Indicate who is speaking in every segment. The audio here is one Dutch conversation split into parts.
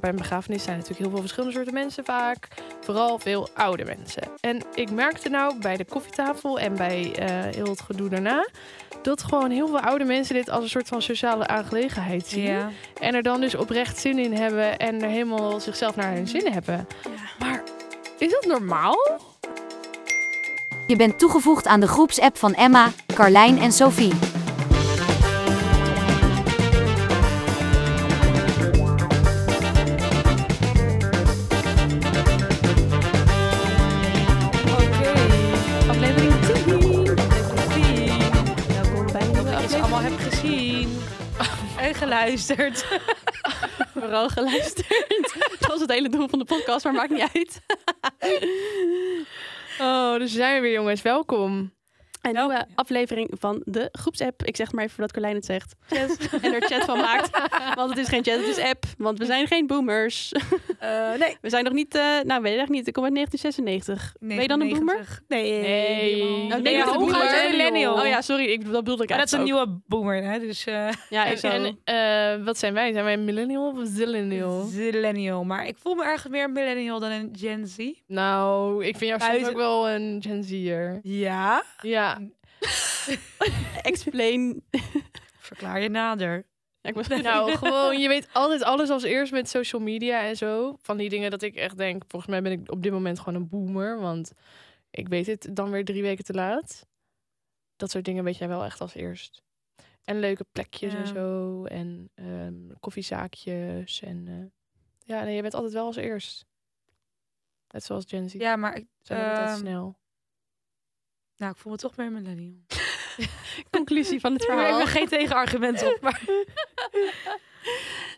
Speaker 1: bij een begrafenis zijn natuurlijk heel veel verschillende soorten mensen vaak. Vooral veel oude mensen. En ik merkte nou bij de koffietafel en bij eh, heel het gedoe daarna... dat gewoon heel veel oude mensen dit als een soort van sociale aangelegenheid zien.
Speaker 2: Ja.
Speaker 1: En er dan dus oprecht zin in hebben en er helemaal zichzelf naar hun zin hebben. Maar is dat normaal?
Speaker 3: Je bent toegevoegd aan de groepsapp van Emma, Carlijn en Sophie.
Speaker 2: Oké, aflevering 10. Aflevering 10. Welkom bij een nieuwe
Speaker 1: ik ze
Speaker 2: aflevering.
Speaker 1: allemaal heb gezien en geluisterd.
Speaker 2: Vooral geluisterd. Dat was het hele doel van de podcast, maar maakt niet uit.
Speaker 1: Oh, dus zijn we weer jongens. Welkom.
Speaker 2: Een nieuwe aflevering van de groepsapp. Ik zeg het maar even voordat Carlijn het zegt. En er chat van maakt. Want het is geen chat, het is app. Want we zijn geen boomers.
Speaker 4: nee.
Speaker 2: We zijn nog niet, eh, nou weet ik echt niet. Ik kom uit 1996. Ben je dan een boomer?
Speaker 4: Nee.
Speaker 1: Hey.
Speaker 2: Oh,
Speaker 4: ben je
Speaker 2: dat
Speaker 4: een
Speaker 2: ik
Speaker 4: boomer?
Speaker 2: uit
Speaker 4: Een
Speaker 2: de
Speaker 4: millennial.
Speaker 2: Oh ja, sorry, ik, dat bedoelde ik
Speaker 4: Maar dat is een
Speaker 2: eigenlijk
Speaker 4: nieuwe boomer, hè? Dus eh
Speaker 2: ook. Ja, ik
Speaker 1: En,
Speaker 2: zo.
Speaker 1: en eh, wat zijn wij? Zijn wij een millennial of zillennial?
Speaker 4: millennial. Maar ik voel me erg meer een millennial dan een Gen Z.
Speaker 1: Nou, ik vind jou soms
Speaker 4: Buiten-
Speaker 1: ook wel een Gen Z'er.
Speaker 4: Ja.
Speaker 1: Ja.
Speaker 2: Explain.
Speaker 4: Verklaar je nader.
Speaker 2: Ja, ik was
Speaker 1: Nou, gewoon, je weet altijd alles als eerst met social media en zo. Van die dingen dat ik echt denk, volgens mij ben ik op dit moment gewoon een boomer. Want ik weet het dan weer drie weken te laat. Dat soort dingen weet jij wel echt als eerst. En leuke plekjes
Speaker 4: Ja.
Speaker 1: en zo. En ehm, koffiezaakjes. En eh, ja, nee, je bent altijd wel als eerst. Net zoals Gen Z.
Speaker 4: Ja, maar ik,
Speaker 1: Ze doen het altijd
Speaker 4: ehm,
Speaker 1: snel.
Speaker 4: nou, ik voel me toch meer millennial.
Speaker 2: conclusie van het
Speaker 4: Maar ik
Speaker 2: verhaal.
Speaker 4: heb geen tegenargument op. Maar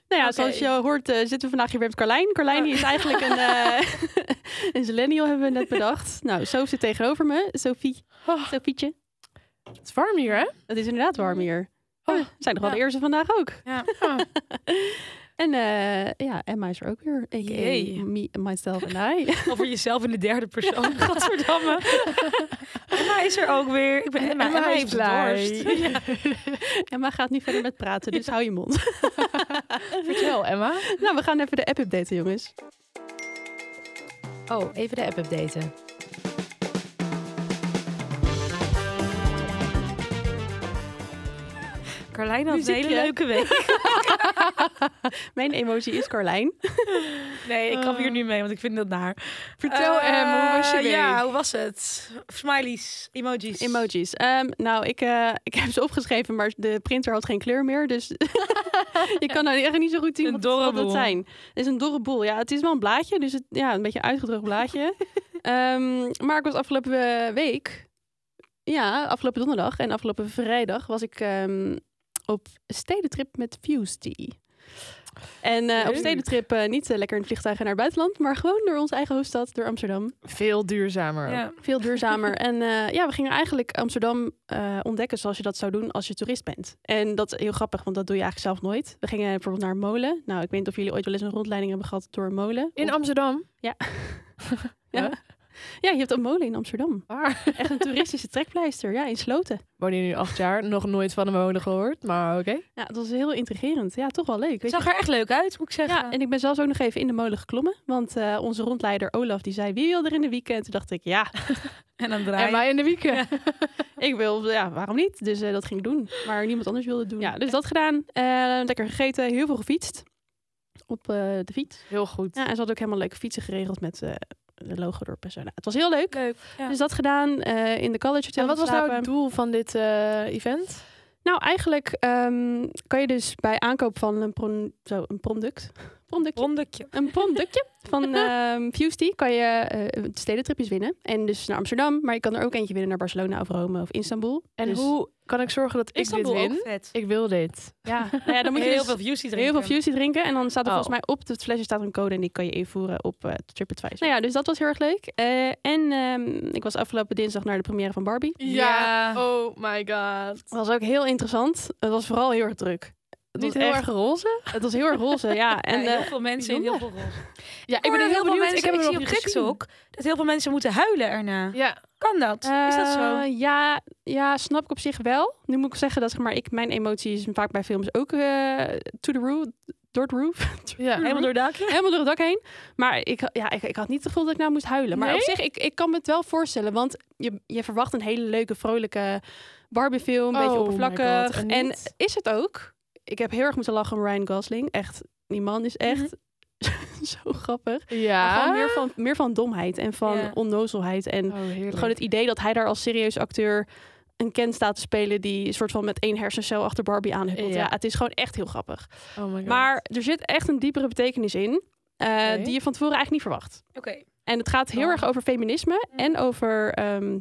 Speaker 2: Nou ja,
Speaker 4: Oké.
Speaker 2: zoals je hoort eh, zitten we vandaag hier weer met Carlijn. Carlijn die is eigenlijk een, eh een millennial, hebben we net bedacht. Nou, Sophie zit tegenover me. Sophie.
Speaker 1: Oh.
Speaker 2: Sophietje.
Speaker 1: Het is warm hier, hè?
Speaker 2: Het is inderdaad warm hier.
Speaker 1: Oh.
Speaker 2: we zijn nog wel
Speaker 4: Ja.
Speaker 2: de eerste vandaag ook.
Speaker 4: Ja.
Speaker 2: En eh, ja, Emma is er ook weer.
Speaker 4: Jee.
Speaker 2: A.k.a. me, myself en I.
Speaker 4: over jezelf in de derde persoon. Godverdamme. Emma is er ook weer. Ik ben Emma. Emma,
Speaker 1: is
Speaker 4: heeft
Speaker 1: blij.
Speaker 4: dorst.
Speaker 2: Emma gaat nu verder met praten, dus hou je mond.
Speaker 1: Vertel, Emma.
Speaker 2: nou, we gaan even de app updaten, jongens.
Speaker 5: Oh, even de app updaten.
Speaker 4: Carlijn had een hele
Speaker 2: Muziekje.
Speaker 4: leuke week.
Speaker 2: Mijn emotie is Carlijn.
Speaker 4: Nee, ik kan hier nu mee, want ik vind dat naar.
Speaker 1: Vertel,
Speaker 4: Eh,
Speaker 1: Em, hoe was je week?
Speaker 4: Ja, hoe was het? Smileys, emojis.
Speaker 2: Emojis. Ehm, nou, ik, eh, ik heb ze opgeschreven, maar de printer had geen kleur meer. Dus je kan nou echt niet zo goed zien
Speaker 4: Een
Speaker 2: wat,
Speaker 4: dorre
Speaker 2: wat dat
Speaker 4: boel.
Speaker 2: zijn. Het is een dorre boel. Ja, het is wel een blaadje, dus het, ja, een beetje een uitgedrukt blaadje. Ehm, maar ik was afgelopen eh, week, ja, afgelopen donderdag en afgelopen vrijdag was ik ehm, op stedentrip met Fusty. En eh, op
Speaker 1: Leuk.
Speaker 2: stedentrip eh, niet eh, lekker in het vliegtuig en naar het buitenland, maar gewoon door onze eigen hoofdstad, door Amsterdam.
Speaker 1: Veel duurzamer. ook.
Speaker 4: Ja.
Speaker 2: Veel duurzamer. en eh, ja, we gingen eigenlijk Amsterdam eh, ontdekken zoals je dat zou doen als je toerist bent. En dat is heel grappig, want dat doe je eigenlijk zelf nooit. We gingen bijvoorbeeld naar een molen. Nou, ik weet niet of jullie ooit wel eens een rondleiding hebben gehad door een molen.
Speaker 1: In Amsterdam?
Speaker 2: Ja.
Speaker 1: ja.
Speaker 2: Ja. ja, je hebt een molen in Amsterdam.
Speaker 1: Waar?
Speaker 2: Echt een toeristische trekpleister, ja, in Sloten.
Speaker 1: Woon hier nu acht jaar, nog nooit van hem wonen gehoord, maar oké.
Speaker 2: Ja, dat was heel intrigerend. Ja, toch wel leuk.
Speaker 4: Het
Speaker 2: Weet
Speaker 4: zag er echt leuk uit, moet ik
Speaker 2: je?
Speaker 4: zeggen.
Speaker 2: Ja, en ik ben zelfs ook nog even in de molen geklommen. Want eh, onze rondleider Olaf, die zei, wie wil er in de weekend? Toen dacht ik, ja,
Speaker 4: En dan draai
Speaker 1: En wij in de weekend.
Speaker 2: ik wil, ja, waarom niet? Dus eh, dat ging ik doen. Maar niemand anders wilde het doen. Ja, dus dat gedaan. Eh, lekker gegeten, heel veel gefietst. Op eh, de fiets.
Speaker 1: Heel goed.
Speaker 2: Ja, en ze had ook helemaal leuke fietsen geregeld met eh de logo door Persona. Nou, Het was heel leuk.
Speaker 4: Leuk. ja.
Speaker 2: Dus dat gedaan eh, in de college hotel.
Speaker 1: En wat was nou
Speaker 2: geslapen.
Speaker 1: het doel van dit eh, event?
Speaker 2: Nou, eigenlijk ehm, kan je dus bij aankoop van een, pron- zo, een product... Product.
Speaker 4: Rondekje.
Speaker 2: een productje van ehm Fusty kan je eh, stedentripjes winnen. En dus naar Amsterdam, maar je kan er ook eentje winnen naar Barcelona of Rome of Istanbul.
Speaker 1: En
Speaker 2: Dus-
Speaker 1: hoe kan ik zorgen dat ik
Speaker 4: Istanbul
Speaker 1: dit
Speaker 4: ook
Speaker 1: win?
Speaker 4: vet.
Speaker 1: Ik wil dit.
Speaker 2: Ja, nou ja dan moet je
Speaker 4: heel
Speaker 2: dus-
Speaker 4: veel views drinken.
Speaker 2: Heel veel Fusty drinken. En dan staat er
Speaker 1: Oh.
Speaker 2: volgens mij op het flesje staat een code en die kan je invoeren op eh TripAdvisor. Nou ja, dus dat was heel erg leuk. Eh, en ehm, ik was afgelopen dinsdag naar de première van Barbie.
Speaker 4: Ja.
Speaker 1: Oh my god.
Speaker 2: Dat was ook heel interessant. Het was vooral heel erg druk. het
Speaker 1: Niet
Speaker 2: was
Speaker 1: heel
Speaker 2: echt,
Speaker 1: erg roze?
Speaker 2: het was heel erg roze, ja. En
Speaker 4: En heel
Speaker 2: eh,
Speaker 4: veel mensen in heel veel roze.
Speaker 1: Ja, ik
Speaker 4: hoor
Speaker 1: ben heel,
Speaker 4: dat veel
Speaker 1: benieuwd.
Speaker 4: Mensen,
Speaker 1: ik heb hem
Speaker 4: zie
Speaker 1: nog
Speaker 4: op
Speaker 1: niet gezien.
Speaker 4: TikTok dat heel veel mensen moeten huilen erna.
Speaker 1: Ja,
Speaker 4: Kan dat? is dat zo?
Speaker 2: eh, ja, ja, snap ik op zich wel. Nu moet ik zeggen dat zeg maar, ik, mijn emoties vaak bij films ook eh, to the roof, door het roof,
Speaker 1: ja.
Speaker 4: Helemaal door het dakje?
Speaker 2: helemaal door het dak heen. Maar ik, ja, ik, ik had niet het gevoel dat ik nou moest huilen. Maar
Speaker 1: Nee?
Speaker 2: op zich, ik, ik kan me het wel voorstellen. Want je, je verwacht een hele leuke, vrolijke Barbie-film. Een beetje
Speaker 1: Oh my
Speaker 2: oppervlakkig.
Speaker 1: God, en
Speaker 2: en
Speaker 1: niet?
Speaker 2: is het ook. Ik heb heel erg moeten lachen om Ryan Gosling. Echt, die man is echt
Speaker 1: Mhm.
Speaker 2: zo grappig. Maar
Speaker 1: Ja.
Speaker 2: gewoon meer van, meer van domheid en van
Speaker 4: Ja.
Speaker 2: onnozelheid. En
Speaker 1: Ah. Oh, heerlijk.
Speaker 2: gewoon het idee dat hij daar als serieus acteur een Ken staat te spelen... die een soort van met één hersencel achter Barbie aanhuppelt.
Speaker 1: Ja.
Speaker 2: Ja, het is gewoon echt heel grappig.
Speaker 1: Oh my god.
Speaker 2: Maar er zit echt een diepere betekenis in. eh,
Speaker 1: Oké.
Speaker 2: Die je van tevoren eigenlijk niet verwacht.
Speaker 4: Oké.
Speaker 2: En het gaat heel
Speaker 1: Oh.
Speaker 2: erg over feminisme
Speaker 4: Mm.
Speaker 2: en over ehm,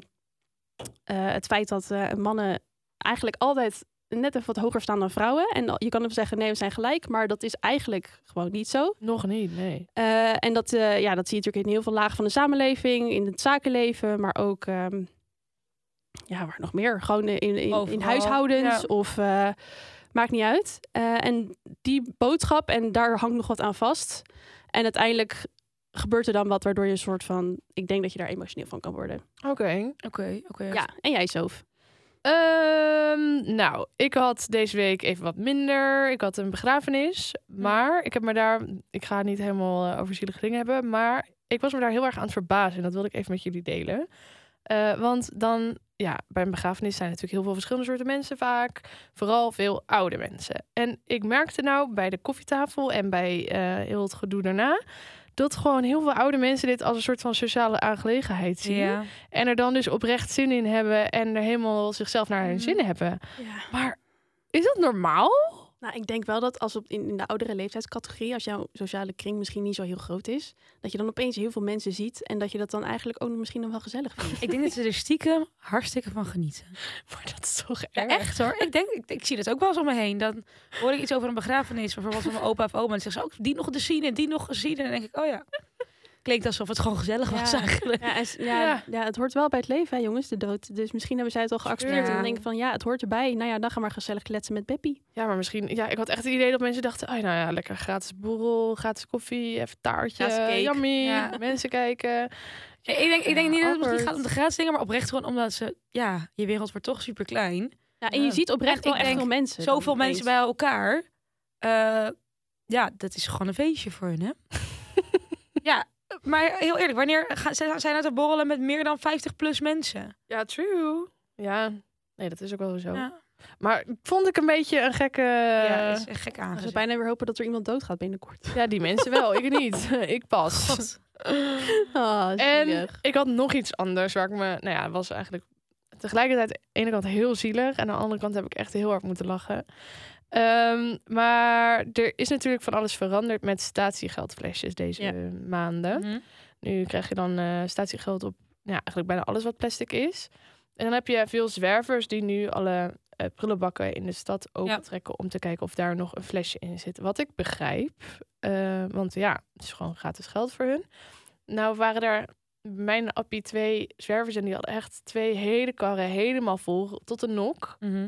Speaker 2: eh, het feit dat eh, mannen eigenlijk altijd net even wat hoger staan dan vrouwen. En al- je kan even zeggen, nee, we zijn gelijk, maar dat is eigenlijk gewoon niet zo.
Speaker 1: Nog niet, nee.
Speaker 2: Eh, en dat, eh, ja, dat zie je natuurlijk in heel veel lagen van de samenleving, in het zakenleven, maar ook, ehm, ja, waar nog meer? Gewoon in, in, in,
Speaker 4: Overal,
Speaker 2: huishoudens
Speaker 4: ja.
Speaker 2: of eh, maakt niet uit. Eh, en die boodschap, en daar hangt nog wat aan vast. En uiteindelijk gebeurt er dan wat waardoor je een soort van, ik denk dat je daar emotioneel van kan worden.
Speaker 1: Oké.
Speaker 4: Oké, oké.
Speaker 2: Ja, en jij zelf.
Speaker 1: Ehm, nou, ik had deze week even wat minder. Ik had een begrafenis. Maar ik heb me daar. Ik ga het niet helemaal eh, over zielige dingen hebben. Maar ik was me daar heel erg aan het verbazen. En dat wilde ik even met jullie delen. Eh, want dan, ja, bij een begrafenis zijn natuurlijk heel veel verschillende soorten mensen vaak. Vooral veel oude mensen. En ik merkte nou bij de koffietafel en bij eh, heel het gedoe daarna. Dat gewoon heel veel oude mensen dit als een soort van sociale aangelegenheid zien.
Speaker 4: Ja.
Speaker 1: En er dan dus oprecht zin in hebben en er helemaal zichzelf naar hun
Speaker 4: Mm.
Speaker 1: zin hebben. Mhm. Maar is dat normaal?
Speaker 2: Nou, ik denk wel dat als op, in, in de oudere leeftijdscategorie, als jouw sociale kring misschien niet zo heel groot is, dat je dan opeens heel veel mensen ziet en dat je dat dan eigenlijk ook nog misschien nog wel gezellig vindt.
Speaker 4: Ik denk dat ze er stiekem hartstikke van genieten.
Speaker 1: Maar dat is toch
Speaker 4: Ja,
Speaker 1: erg?
Speaker 4: echt hoor. Ik denk, ik, ik zie dat ook wel eens om me heen. Dan hoor ik iets over een begrafenis, bijvoorbeeld van mijn opa of oma. En dan zeggen ze ook die nog gezien en die nog gezien. En dan denk ik, oh ja. Klinkt alsof het gewoon gezellig was
Speaker 2: Ja.
Speaker 4: eigenlijk.
Speaker 2: Ja, en s- ja,
Speaker 1: Ja.
Speaker 2: ja. het hoort wel bij het leven, hè, jongens, de dood. Dus misschien hebben zij het al geaccepteerd.
Speaker 4: Ja.
Speaker 2: En dan denk ik van, ja, het hoort erbij. Nou ja, dan gaan we maar gezellig kletsen met Beppie.
Speaker 1: Ja, maar misschien. Ja, ik had echt het idee dat mensen dachten: oh, nou ja, lekker gratis borrel, gratis koffie, even taartje,
Speaker 4: Gratis cake.
Speaker 1: yummy,
Speaker 4: Ja,
Speaker 1: mensen kijken.
Speaker 4: Ja, ik denk, ik
Speaker 1: Ja,
Speaker 4: denk niet dat het misschien
Speaker 1: awkward.
Speaker 4: gaat om de gratis dingen, maar oprecht gewoon omdat ze, ja, je wereld wordt toch super klein.
Speaker 2: Ja, en je
Speaker 1: Ja.
Speaker 2: ziet oprecht
Speaker 4: En
Speaker 2: wel
Speaker 4: ik
Speaker 2: echt
Speaker 4: denk,
Speaker 2: veel mensen. dan
Speaker 4: Zoveel mensen bij
Speaker 2: opeens.
Speaker 4: elkaar. Eh, ja, dat is gewoon een feestje voor hun, hè? ja, maar heel eerlijk, wanneer gaan, zijn zijn uit de borrelen met meer dan 50 plus mensen?
Speaker 1: Ja, true. Ja, nee, dat is ook wel zo.
Speaker 4: Ja,
Speaker 1: Maar vond ik een beetje een gekke.
Speaker 4: ja
Speaker 1: Ja,
Speaker 4: is echt gek
Speaker 2: We
Speaker 4: aangezien.
Speaker 2: zouden bijna weer hopen dat er iemand doodgaat binnenkort.
Speaker 1: die mensen wel, ik niet. ik pas.
Speaker 4: God.
Speaker 2: Ah,
Speaker 1: En ik had nog iets anders waar ik me, nou ja, was eigenlijk tegelijkertijd aan de ene kant heel zielig en aan de andere kant heb ik echt heel hard moeten lachen. Ehm, maar er is natuurlijk van alles veranderd met statiegeldflesjes deze
Speaker 4: Ja.
Speaker 1: maanden. Nu krijg je dan eh, statiegeld op ja, eigenlijk bijna alles wat plastic is. En dan heb je veel zwervers die nu alle eh, prullenbakken in de stad opentrekken om te kijken of daar nog een flesje in zit. Wat ik begrijp, eh, want ja, het is gewoon gratis geld voor hun. Nou waren daar bij mijn appie twee zwervers en die hadden echt twee hele karren helemaal vol tot de nok
Speaker 4: Mhm.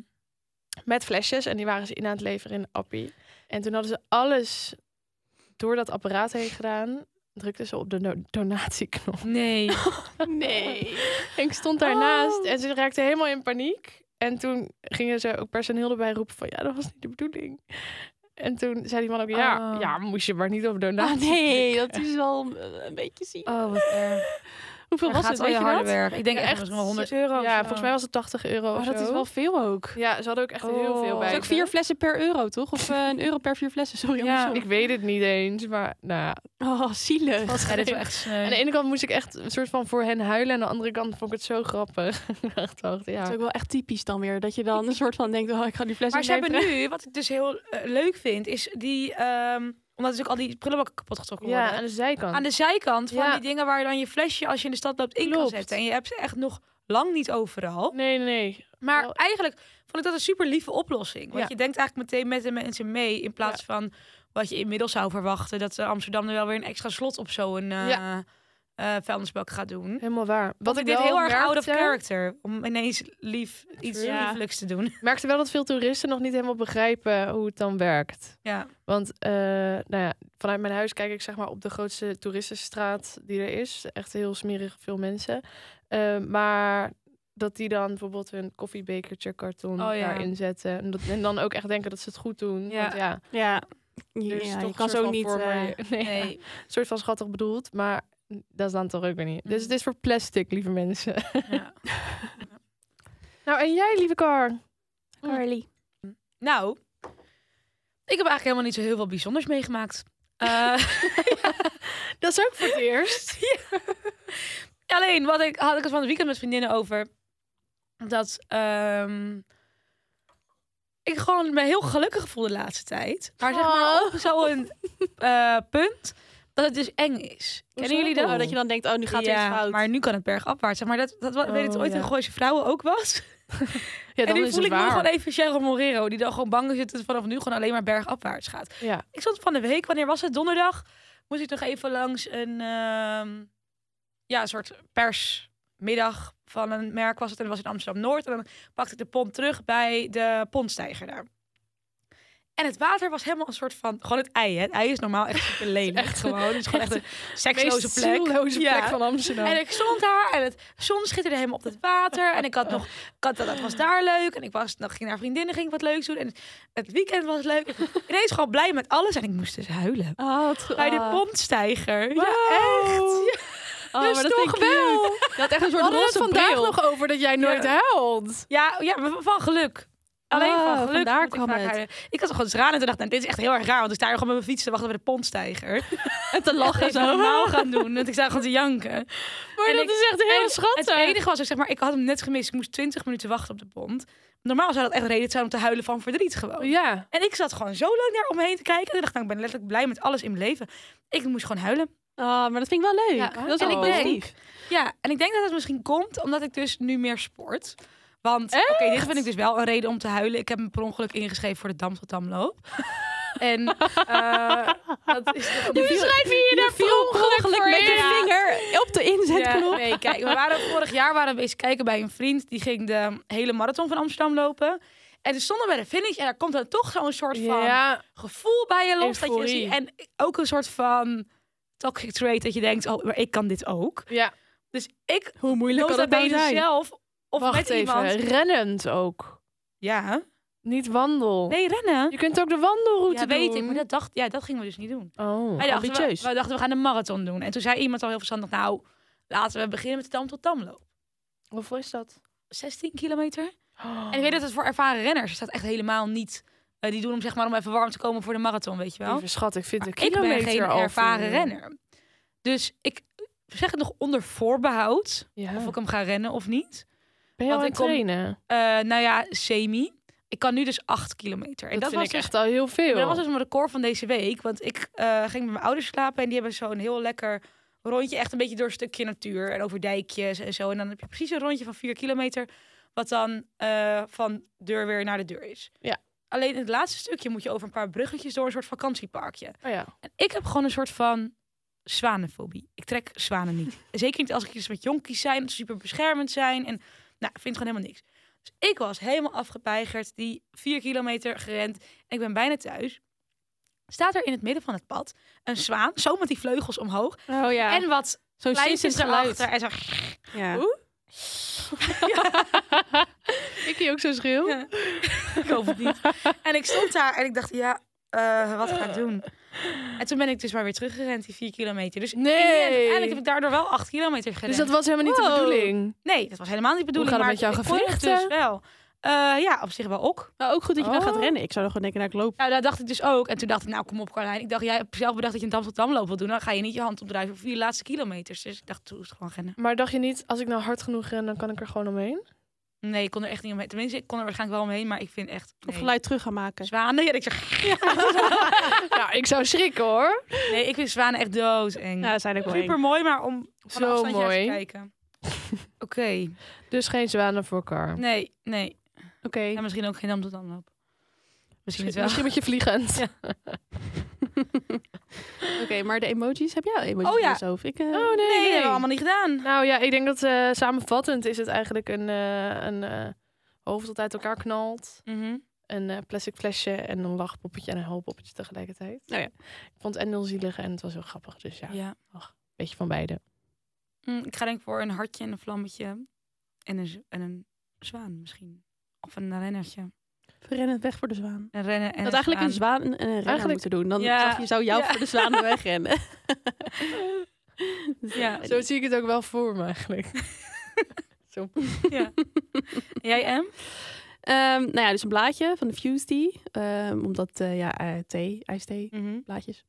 Speaker 1: met flesjes en die waren ze in aan het leveren in de appie. En toen hadden ze alles door dat apparaat heen gedaan. Drukten ze op de no- donatieknop.
Speaker 4: Nee.
Speaker 2: Nee. Ah,
Speaker 1: En ik stond daarnaast
Speaker 4: Oh.
Speaker 1: en ze raakte helemaal in paniek. En toen gingen ze ook personeel erbij roepen van... ja, dat was niet de bedoeling. En toen zei die man ook... ja,
Speaker 4: Oh.
Speaker 1: ja moest je maar niet op donatie
Speaker 2: Ah, nee, dat
Speaker 1: klikken.
Speaker 2: is wel eh, een beetje ziek.
Speaker 4: Oh, wat erg.
Speaker 2: Hoeveel was het?
Speaker 4: al
Speaker 2: Weet
Speaker 4: je
Speaker 2: je
Speaker 4: harde
Speaker 2: dat?
Speaker 4: werk. Ik denk
Speaker 1: Ja,
Speaker 4: echt
Speaker 1: echt.
Speaker 4: misschien wel 100 euro. of
Speaker 1: Ja,
Speaker 4: zo.
Speaker 1: volgens mij was het 80 euro
Speaker 2: Oh,
Speaker 1: of
Speaker 2: dat is
Speaker 1: zo.
Speaker 2: wel veel ook.
Speaker 1: Ja, ze hadden ook echt heel veel bij.
Speaker 4: Oh.
Speaker 2: Dat is ook
Speaker 1: ze.
Speaker 2: vier flessen per euro, toch? Of eh, een euro per vier flessen,
Speaker 4: Ja.
Speaker 2: sorry. andersom.
Speaker 1: Ik weet het niet eens, maar nou ja.
Speaker 2: Oh, zielig.
Speaker 1: was
Speaker 4: Ja, dit is wel
Speaker 1: geen-
Speaker 4: echt sneu.
Speaker 1: Aan de ene kant moest ik echt een soort van voor hen huilen. Aan de andere kant vond ik het zo grappig. ik dacht,
Speaker 2: Dat is
Speaker 1: ja.
Speaker 2: ook wel echt typisch dan weer. Dat je dan een soort van denkt, oh, ik ga die fles
Speaker 4: Maar ze
Speaker 2: niet
Speaker 4: hebben nu, wat ik dus heel eh, leuk vind, is die... ehm, omdat natuurlijk al die prullenbakken kapot getrokken
Speaker 1: ja, aan
Speaker 4: worden.
Speaker 1: de zijkant.
Speaker 4: Aan de zijkant van
Speaker 1: Ja.
Speaker 4: die dingen waar je dan je flesje als je in de stad loopt in kan
Speaker 1: Klopt.
Speaker 4: zetten. En je hebt ze echt nog lang niet overal.
Speaker 1: Nee, nee, nee.
Speaker 4: Maar
Speaker 1: Wel-
Speaker 4: eigenlijk vond ik dat een super lieve oplossing. Want
Speaker 1: Ja.
Speaker 4: je denkt eigenlijk meteen met de mensen mee. In plaats van wat je inmiddels zou verwachten. Dat eh, Amsterdam er wel weer een extra slot op zo'n eh,
Speaker 1: Ja.
Speaker 4: eh vuilnisbak gaat doen.
Speaker 1: Helemaal waar. Wat
Speaker 4: Ik dit heel erg out of
Speaker 1: merkte-
Speaker 4: character. Om ineens lief, iets
Speaker 1: True. Ja.
Speaker 4: lieflijks te doen.
Speaker 1: Ik merkte wel dat veel toeristen nog niet helemaal begrijpen hoe het dan werkt.
Speaker 4: Ja.
Speaker 1: Want eh, nou ja, vanuit mijn huis kijk ik zeg maar op de grootste toeristenstraat die er is. Echt heel smerig veel mensen. Eh, maar dat die dan bijvoorbeeld hun koffiebekertje karton
Speaker 4: Oh ja.
Speaker 1: daarin zetten. En, dat, en dan ook echt denken dat ze het goed doen.
Speaker 4: Ja.
Speaker 1: Want ja,
Speaker 2: Ja, ja,
Speaker 1: er is toch
Speaker 2: je
Speaker 1: een
Speaker 2: kan
Speaker 1: soort
Speaker 2: zo
Speaker 1: van
Speaker 2: niet...
Speaker 1: voor
Speaker 2: eh,
Speaker 1: me- nee,
Speaker 4: Nee.
Speaker 1: een soort van schattig bedoeld, maar dat is dan toch ook weer niet. Dus
Speaker 4: Mhm.
Speaker 1: het is voor plastic, lieve mensen.
Speaker 4: Ja.
Speaker 1: Nou, en jij, lieve Car?
Speaker 2: Carly.
Speaker 4: Nou, ik heb eigenlijk helemaal niet zo heel veel bijzonders meegemaakt. Eh,
Speaker 1: Dat is ook voor het eerst.
Speaker 4: alleen, wat ik, had ik het van het weekend met vriendinnen over. Dat ehm, ik gewoon me heel gelukkig voel de laatste tijd. Maar zeg maar
Speaker 1: Oh.
Speaker 4: op zo'n eh, punt dat het dus eng is. Kennen jullie dat?
Speaker 2: Oh, dat je dan denkt, oh, nu gaat er
Speaker 4: ja,
Speaker 2: iets fout.
Speaker 4: maar nu kan het bergafwaarts. Zeg maar dat, dat weet je het
Speaker 1: Oh,
Speaker 4: ooit
Speaker 1: ja.
Speaker 4: in Gooise Vrouwen ook was.
Speaker 1: Ja,
Speaker 4: en
Speaker 1: dan
Speaker 4: nu
Speaker 1: is
Speaker 4: voel
Speaker 1: het
Speaker 4: ik me
Speaker 1: waar.
Speaker 4: gewoon even Cheryl Morero, die dan gewoon bang is dat het vanaf nu gewoon alleen maar bergafwaarts gaat.
Speaker 1: Ja.
Speaker 4: Ik zat van de week, wanneer was het? Donderdag. Moest ik nog even langs een ehm, ja, een soort persmiddag van een merk was het. En dat was in Amsterdam-Noord. En dan pakte ik de pont terug bij de pontstijger daar. En het water was helemaal een soort van... Gewoon het ei, hè. Het ei is normaal echt super lenig.
Speaker 1: Echt-
Speaker 4: gewoon. Het is gewoon echt een seksloze
Speaker 1: meest
Speaker 4: plek.
Speaker 1: zielloze
Speaker 4: Ja.
Speaker 1: plek van Amsterdam.
Speaker 4: En ik stond daar en het zon schitterde helemaal op het water. En ik had nog, ik had, dat was daar leuk. En ik was, dan ging naar vriendinnen, ging ik wat leuks doen. En het weekend was leuk. Ik was ineens gewoon blij met alles. En ik moest dus huilen.
Speaker 2: Oh, wat ge-
Speaker 4: Bij de
Speaker 2: oh.
Speaker 4: pontstijger. Ja,
Speaker 2: Wauw.
Speaker 4: echt.
Speaker 2: Oh,
Speaker 4: Dus
Speaker 2: maar dat
Speaker 4: toch
Speaker 2: vind ik wel. Je had echt een
Speaker 1: We
Speaker 2: soort
Speaker 1: hadden het
Speaker 2: roze
Speaker 1: vandaag
Speaker 2: bril.
Speaker 1: nog over dat jij nooit huilt.
Speaker 4: Ja, ja, maar van geluk. Alleen
Speaker 2: Ah,
Speaker 4: van geluk.
Speaker 2: vandaar
Speaker 4: moet ik
Speaker 2: kwam
Speaker 4: vaak
Speaker 2: het.
Speaker 4: huilen. Ik had gewoon tranen en toen dacht, nou, dit is echt heel erg raar. Want ik sta hier gewoon met mijn fiets te wachten bij de pontstijger.
Speaker 2: En te
Speaker 4: Lachen
Speaker 2: lachen
Speaker 4: zo
Speaker 2: zo.
Speaker 4: normaal gaan doen. Want ik sta gewoon te janken.
Speaker 1: Maar
Speaker 4: En
Speaker 1: dat
Speaker 4: ik-
Speaker 1: is echt heel
Speaker 4: En
Speaker 1: schattig.
Speaker 4: Het enige was, ik zeg maar, ik had hem net gemist. Ik moest 20 minuten wachten op de pont. Normaal zou dat echt reden zijn om te huilen van verdriet gewoon.
Speaker 1: Ja.
Speaker 4: En ik zat gewoon zo lang daar om me heen te kijken. En ik dacht, nou, ik ben letterlijk blij met alles in mijn leven. Ik moest gewoon huilen.
Speaker 2: Oh, maar dat vind ik wel leuk.
Speaker 1: Ja.
Speaker 2: dat
Speaker 1: En
Speaker 2: is wel
Speaker 1: ik denk-
Speaker 2: positief.
Speaker 4: Ja, en ik denk dat het misschien komt omdat ik dus nu meer sport. Want oké, dit vind ik dus wel een reden om te huilen. Ik heb me per ongeluk ingeschreven voor de Dam tot Damloop. en eh, dat is toch een-
Speaker 1: schrijf je je daar
Speaker 2: Veel ongeluk met
Speaker 4: in.
Speaker 2: je vinger op de inzetknop.
Speaker 4: Ja, nee, kijk, we waren vorig jaar waren we eens kijken bij een vriend. Die ging de hele marathon van Amsterdam lopen. En toen stonden we bij de finish en daar komt dan toch zo'n soort van
Speaker 1: Ja,
Speaker 4: gevoel bij je los. Dat je,
Speaker 1: Euforie.
Speaker 4: en ook een soort van toxic trait dat je denkt, oh, maar ik kan dit ook.
Speaker 1: ja.
Speaker 4: Dus ik
Speaker 2: Hoe moeilijk kan
Speaker 4: nota
Speaker 2: dat nou
Speaker 4: bene
Speaker 2: zijn?
Speaker 4: zelf of
Speaker 1: Wacht
Speaker 4: met
Speaker 1: even.
Speaker 4: iemand.
Speaker 1: Rennend ook.
Speaker 4: Ja.
Speaker 1: Niet wandel.
Speaker 4: Nee, rennen.
Speaker 1: Je kunt ook de wandelroute
Speaker 4: Ja, weet
Speaker 1: doen.
Speaker 4: ik, maar dat, dacht, ja, dat gingen we dus niet doen.
Speaker 1: Oh.
Speaker 4: Wij dachten, we,
Speaker 2: ambitieus.
Speaker 4: we dachten, we gaan een marathon doen. En toen zei iemand al heel verstandig, nou, laten we beginnen met de Dam tot Damloop.
Speaker 1: Hoeveel is dat?
Speaker 4: 16 kilometer. En
Speaker 1: Oh.
Speaker 4: ik weet dat het voor ervaren renners is dat echt helemaal niet. eh, die doen hem zeg maar om even warm te komen voor de marathon, weet je wel.
Speaker 1: Lieve schat, ik vind een
Speaker 4: ik
Speaker 1: kilometer
Speaker 4: ben geen
Speaker 1: al veel.
Speaker 4: ervaren renner. Dus ik zeg het nog onder voorbehoud
Speaker 1: Ja.
Speaker 4: of ik hem ga rennen of niet.
Speaker 1: Ben je al
Speaker 4: want
Speaker 1: aan
Speaker 4: ik
Speaker 1: het
Speaker 4: kom-
Speaker 1: trainen?
Speaker 4: Eh, nou ja, semi. Ik kan nu dus 8 kilometer. En
Speaker 1: Dat, vind
Speaker 4: was
Speaker 1: ik
Speaker 4: dus,
Speaker 1: echt al heel veel.
Speaker 4: dat was dus mijn record van deze week. Want ik eh, ging met mijn ouders slapen en die hebben zo'n heel lekker rondje. Echt een beetje door een stukje natuur en over dijkjes en zo. En dan heb je precies een rondje van 4 kilometer. Wat dan eh, van deur weer naar de deur is.
Speaker 1: Ja.
Speaker 4: Alleen het laatste stukje moet je over een paar bruggetjes door een soort vakantieparkje.
Speaker 1: Oh ja.
Speaker 4: En ik heb gewoon een soort van zwanenfobie. Ik trek zwanen niet. Zeker niet als ik iets met jonkies zijn, dat ze super beschermend zijn. En nou, ik vind gewoon helemaal niks. Dus ik was helemaal afgepeigerd, die vier kilometer gerend. En ik ben bijna thuis. Staat er in het midden van het pad een zwaan, zo met die vleugels omhoog.
Speaker 2: Oh ja.
Speaker 4: En wat
Speaker 2: zo'n
Speaker 4: kleintjes
Speaker 2: sissend geluid.
Speaker 4: erachter. En zo,
Speaker 2: Ja.
Speaker 4: Oeh.
Speaker 1: Ik hier ook zo schreeuw.
Speaker 4: Ja. ik hoop het niet. En ik stond daar en ik dacht, ja, eh, wat ga ik doen? En toen ben ik dus maar weer teruggerend, die vier kilometer. Dus in die end,
Speaker 1: Nee.
Speaker 4: uiteindelijk heb ik daardoor wel acht kilometer gerend.
Speaker 1: Dus dat was helemaal niet de
Speaker 2: Wow.
Speaker 1: bedoeling.
Speaker 4: Nee, dat was helemaal niet de
Speaker 1: Hoe
Speaker 4: bedoeling.
Speaker 1: gaat het
Speaker 4: maar
Speaker 1: met
Speaker 4: ik
Speaker 1: jouw
Speaker 4: kon het
Speaker 1: gewrichten?
Speaker 4: dus wel. Eh, ja, op zich wel ook.
Speaker 2: Nou, ook goed dat je dan gaat
Speaker 1: Oh.
Speaker 2: rennen. Ik zou dan gewoon denken, nou, ik loop.
Speaker 4: Nou, dat dacht ik dus ook. En toen dacht ik, nou kom op Carlijn. Ik dacht, jij hebt zelf bedacht dat je een Dam tot Damloop wil doen. Dan ga je niet je hand opdrijven voor je laatste kilometers. Dus ik dacht, toen is het gewoon rennen.
Speaker 1: Maar dacht je niet, als ik nou hard genoeg ren, dan kan ik er gewoon omheen?
Speaker 4: Nee, ik kon er echt niet omheen. Tenminste, ik kon er waarschijnlijk wel omheen. Maar ik vind echt...
Speaker 2: Of
Speaker 4: nee.
Speaker 2: geluid terug gaan maken.
Speaker 4: Zwanen, ja, ik zeg...
Speaker 1: Ja, ik zou schrikken hoor.
Speaker 4: Nee, ik vind zwanen echt doodeng.
Speaker 2: Nou, dat zijn ook wel
Speaker 4: Super mooi, maar om van een
Speaker 1: Zo
Speaker 4: afstandje even
Speaker 1: mooi.
Speaker 4: te kijken. Oké.
Speaker 1: Dus geen zwanen voor elkaar.
Speaker 4: Nee, nee.
Speaker 1: Oké.
Speaker 4: En misschien ook geen Dam tot Damloop. Misschien het wel.
Speaker 1: Misschien met je vliegend.
Speaker 2: Oké, maar de emojis, heb jij al emojis
Speaker 4: Oh ja.
Speaker 2: in je hoofd? Ik, eh,
Speaker 1: Oh nee,
Speaker 4: Nee, dat
Speaker 1: nee.
Speaker 4: hebben we allemaal niet gedaan.
Speaker 1: Nou ja, ik denk dat eh, samenvattend is het eigenlijk een, eh, een eh, hoofd dat uit elkaar knalt.
Speaker 4: Mhm.
Speaker 1: Een eh, plastic flesje en een lachpoppetje en een huilpoppetje tegelijkertijd.
Speaker 2: Oh ja.
Speaker 1: Ik vond het en heel zielig en het was heel grappig. Dus ja,
Speaker 4: Nou Ja.
Speaker 1: een beetje van beide.
Speaker 4: Mm, ik ga denk ik voor een hartje en een vlammetje. En een, z- en een zwaan misschien. Of een rennertje.
Speaker 2: we rennen weg voor de zwaan.
Speaker 4: Een rennen en
Speaker 2: Dat
Speaker 4: een
Speaker 2: eigenlijk een
Speaker 4: zwaan.
Speaker 2: zwaan en een renner
Speaker 1: Eigenlijk-
Speaker 2: moeten doen. Dan
Speaker 4: Ja.
Speaker 2: zag je, zou jou
Speaker 4: Ja.
Speaker 2: voor de zwaan wegrennen.
Speaker 4: Ja.
Speaker 1: Zo zie ik het ook wel voor me eigenlijk. Zo.
Speaker 4: Jij, Em?
Speaker 2: Ehm, nou ja, dus een blaadje van de Fuse Tea. Ehm, omdat, eh, ja, eh, thee, ijsthee, blaadjes.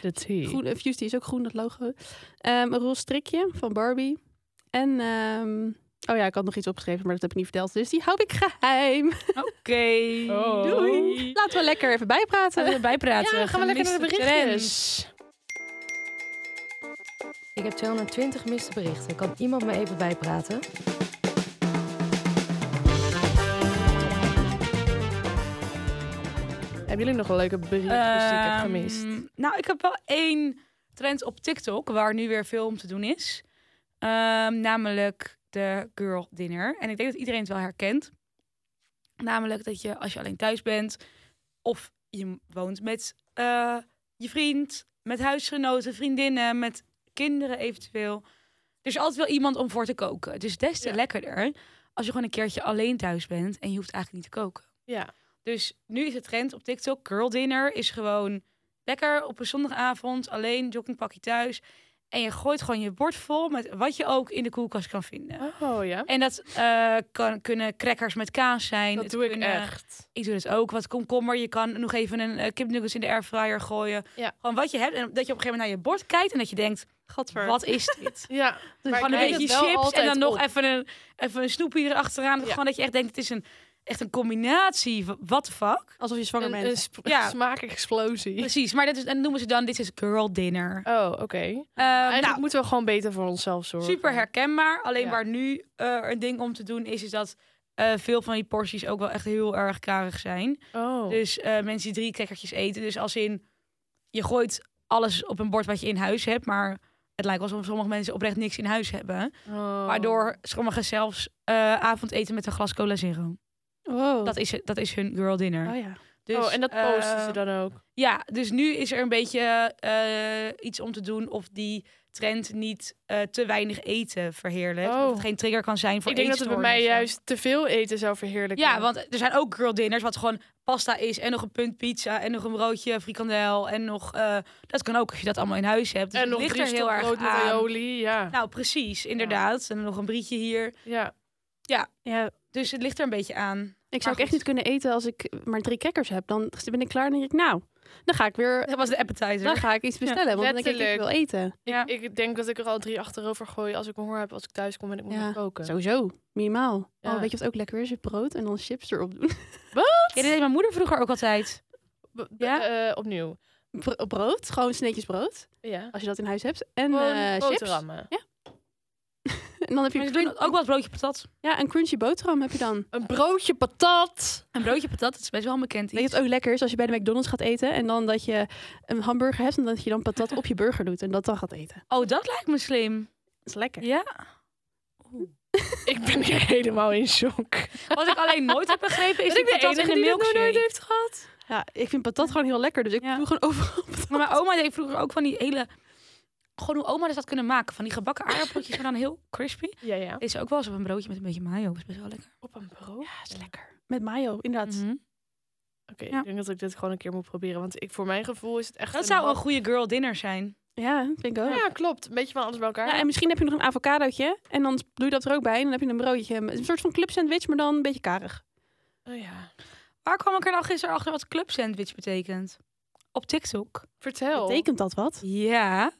Speaker 1: De tea.
Speaker 2: Groen, eh, Fuse Tea is ook groen, dat logo. Ehm, een roze strikje van Barbie. En, ehm, oh ja, ik had nog iets opgeschreven, maar dat heb ik niet verteld. Dus die hou ik geheim.
Speaker 4: Oké.
Speaker 1: Oh.
Speaker 4: Doei.
Speaker 2: Laten we lekker even bijpraten.
Speaker 4: Laten we bijpraten.
Speaker 1: Ja, gaan we lekker naar de
Speaker 4: Gemiste
Speaker 1: berichtjes.
Speaker 5: Ik heb 220 miste berichten. Kan iemand me even bijpraten?
Speaker 1: Hebben jullie nog een leuke berichtjes die ik heb gemist?
Speaker 4: Ehm, nou, ik heb wel één trend op TikTok waar nu weer veel om te doen is. Ehm, namelijk de girl dinner. En ik denk dat iedereen het wel herkent. Namelijk dat je als je alleen thuis bent of je woont met eh, je vriend, met huisgenoten, vriendinnen, met kinderen eventueel. Er is altijd wel iemand om voor te koken. Het is des te
Speaker 1: Ja.
Speaker 4: lekkerder als je gewoon een keertje alleen thuis bent en je hoeft eigenlijk niet te koken.
Speaker 1: Ja.
Speaker 4: Dus nu is de trend op TikTok. Girl dinner is gewoon lekker op een zondagavond. Alleen joggingpakje thuis. En je gooit gewoon je bord vol met wat je ook in de koelkast kan vinden.
Speaker 1: Oh ja.
Speaker 4: En dat eh, kan, kunnen crackers met kaas zijn.
Speaker 1: Dat
Speaker 4: Het
Speaker 1: doe ik
Speaker 4: kunnen-
Speaker 1: echt.
Speaker 4: Ik doe het ook. Wat komkommer. Je kan nog even een eh, kipnuggets in de airfryer gooien.
Speaker 1: Ja.
Speaker 4: Gewoon wat je hebt. En dat je op een gegeven moment naar je bord kijkt. En dat je denkt,
Speaker 2: Gadver.
Speaker 4: wat is dit?
Speaker 1: Ja. Maar
Speaker 4: Gewoon
Speaker 1: ik
Speaker 4: een
Speaker 1: merk
Speaker 4: beetje
Speaker 1: het wel
Speaker 4: chips en
Speaker 1: altijd
Speaker 4: dan nog
Speaker 1: op.
Speaker 4: even een, even een snoepje erachteraan.
Speaker 1: Ja.
Speaker 4: Gewoon dat je echt denkt, het is een, echt een combinatie. What the fuck?
Speaker 2: Alsof je zwanger
Speaker 1: Een,
Speaker 2: bent.
Speaker 1: een sp-
Speaker 4: Ja.
Speaker 1: smaakexplosie.
Speaker 4: Precies, maar dat is, en noemen ze dan, dit is girl dinner.
Speaker 1: Oh, oké.
Speaker 4: Eh,
Speaker 1: Eigenlijk
Speaker 4: nou,
Speaker 1: moeten we gewoon beter voor onszelf zorgen.
Speaker 4: super herkenbaar. Alleen
Speaker 1: Ja.
Speaker 4: waar nu eh, een ding om te doen is, is dat eh, veel van die porties ook wel echt heel erg karig zijn.
Speaker 1: Oh.
Speaker 4: Dus eh, mensen die drie krekkertjes eten. Dus als in, je gooit alles op een bord wat je in huis hebt, maar het lijkt wel alsof sommige mensen oprecht niks in huis hebben.
Speaker 1: Oh.
Speaker 4: Waardoor sommigen zelfs eh, avondeten met een glas cola zero.
Speaker 2: Wow.
Speaker 4: Dat is, dat is hun girl dinner.
Speaker 2: Oh ja.
Speaker 4: Dus,
Speaker 1: oh, en dat posten
Speaker 4: eh,
Speaker 1: ze dan ook.
Speaker 4: Ja, dus nu is er een beetje eh, iets om te doen of die trend niet eh, te weinig eten verheerlijkt.
Speaker 1: Oh.
Speaker 4: Of het geen trigger kan zijn voor
Speaker 1: Ik denk dat het bij mij
Speaker 4: eetstoornissen.
Speaker 1: juist te veel eten zou verheerlijken.
Speaker 4: Ja, want er zijn ook girl dinners wat gewoon pasta is en nog een punt pizza en nog een broodje frikandel en nog... eh, dat kan ook als je dat allemaal in huis hebt. Dus
Speaker 1: en
Speaker 4: het
Speaker 1: nog
Speaker 4: ligt
Speaker 1: drie
Speaker 4: er heel
Speaker 1: stop
Speaker 4: erg
Speaker 1: brood met
Speaker 4: aan.
Speaker 1: aioli. Ja.
Speaker 4: Nou, precies, inderdaad. En nog een brietje hier.
Speaker 1: ja.
Speaker 2: ja.
Speaker 4: Dus het ligt er een beetje aan.
Speaker 2: Ik zou ook
Speaker 4: goed.
Speaker 2: echt niet kunnen eten als ik maar drie kekkers heb. Dan ben ik klaar en denk ik, nou, dan ga ik weer...
Speaker 4: Dat was de appetizer.
Speaker 2: Dus Dan ga ik iets bestellen, want dan denk ik, ik wil
Speaker 1: letterlijk.
Speaker 2: eten.
Speaker 4: ja.
Speaker 1: Ik denk dat ik er al drie achterover gooi als ik me honger heb als ik thuis kom en ik moet
Speaker 2: Ja.
Speaker 1: nog koken.
Speaker 2: Sowieso, minimaal.
Speaker 1: Ja.
Speaker 2: Oh, weet je wat ook lekker is? Je brood en dan chips erop doen.
Speaker 4: Ja, dat deed mijn moeder vroeger ook altijd.
Speaker 1: B- b-
Speaker 4: Ja?
Speaker 1: eh, opnieuw.
Speaker 2: Bro- brood, gewoon sneetjes brood,
Speaker 1: Ja.
Speaker 2: als je dat in huis hebt. En
Speaker 1: Gewoon
Speaker 2: eh, chips.
Speaker 1: boterhammen.
Speaker 2: En dan heb je
Speaker 4: Maar ze
Speaker 2: een
Speaker 4: doen
Speaker 2: crun-
Speaker 4: ook wel het broodje patat.
Speaker 2: ja, een crunchy boterham heb je dan.
Speaker 1: Een broodje patat.
Speaker 4: Een broodje patat, dat is best wel een bekend
Speaker 2: Weet je
Speaker 4: iets.
Speaker 2: wat ook lekker is? Als je bij de McDonald's gaat eten en dan dat je een hamburger hebt en dat je dan patat op je burger doet en dat dan gaat eten.
Speaker 4: Oh, dat lijkt me slim.
Speaker 2: Dat is lekker.
Speaker 4: Ja.
Speaker 1: Ik ben hier helemaal in shock.
Speaker 4: Wat ik alleen nooit heb begrepen is
Speaker 1: Dat
Speaker 4: die patat in een
Speaker 1: die dit nog nooit
Speaker 4: milkshake.
Speaker 1: heeft gehad.
Speaker 2: Ja, ik vind patat gewoon heel lekker, dus ik
Speaker 4: Ja.
Speaker 2: doe gewoon overal patat.
Speaker 4: Maar mijn oma deed vroeger ook van die hele... Gewoon hoe oma dus dat kunnen maken. Van die gebakken aardappeltjes, maar dan heel crispy.
Speaker 1: Ja, ja.
Speaker 4: Deed ze ook wel eens op een broodje met een beetje mayo. Dat is best wel lekker. Mhm.
Speaker 1: Op een brood?
Speaker 2: Ja, Ah, is lekker. Met mayo, inderdaad.
Speaker 1: Oké,
Speaker 4: Ja.
Speaker 1: ik denk dat ik dit gewoon een keer moet proberen. Want ik, voor mijn gevoel is het echt...
Speaker 4: Dat zou
Speaker 1: hap-
Speaker 4: een goede girl dinner zijn.
Speaker 2: Ja, vind ik ook. Ja.
Speaker 1: Ja, klopt. Een beetje van alles bij elkaar.
Speaker 2: en misschien heb je nog een avocadootje en dan doe je dat er ook bij en dan heb je een broodje. Een soort van club sandwich, maar dan een beetje karig.
Speaker 1: Oh, ja.
Speaker 4: Waar kwam ik er nou gisteren achter wat club sandwich betekent? Op TikTok. Oh.
Speaker 1: Vertel.
Speaker 2: Betekent dat wat?
Speaker 4: Ja.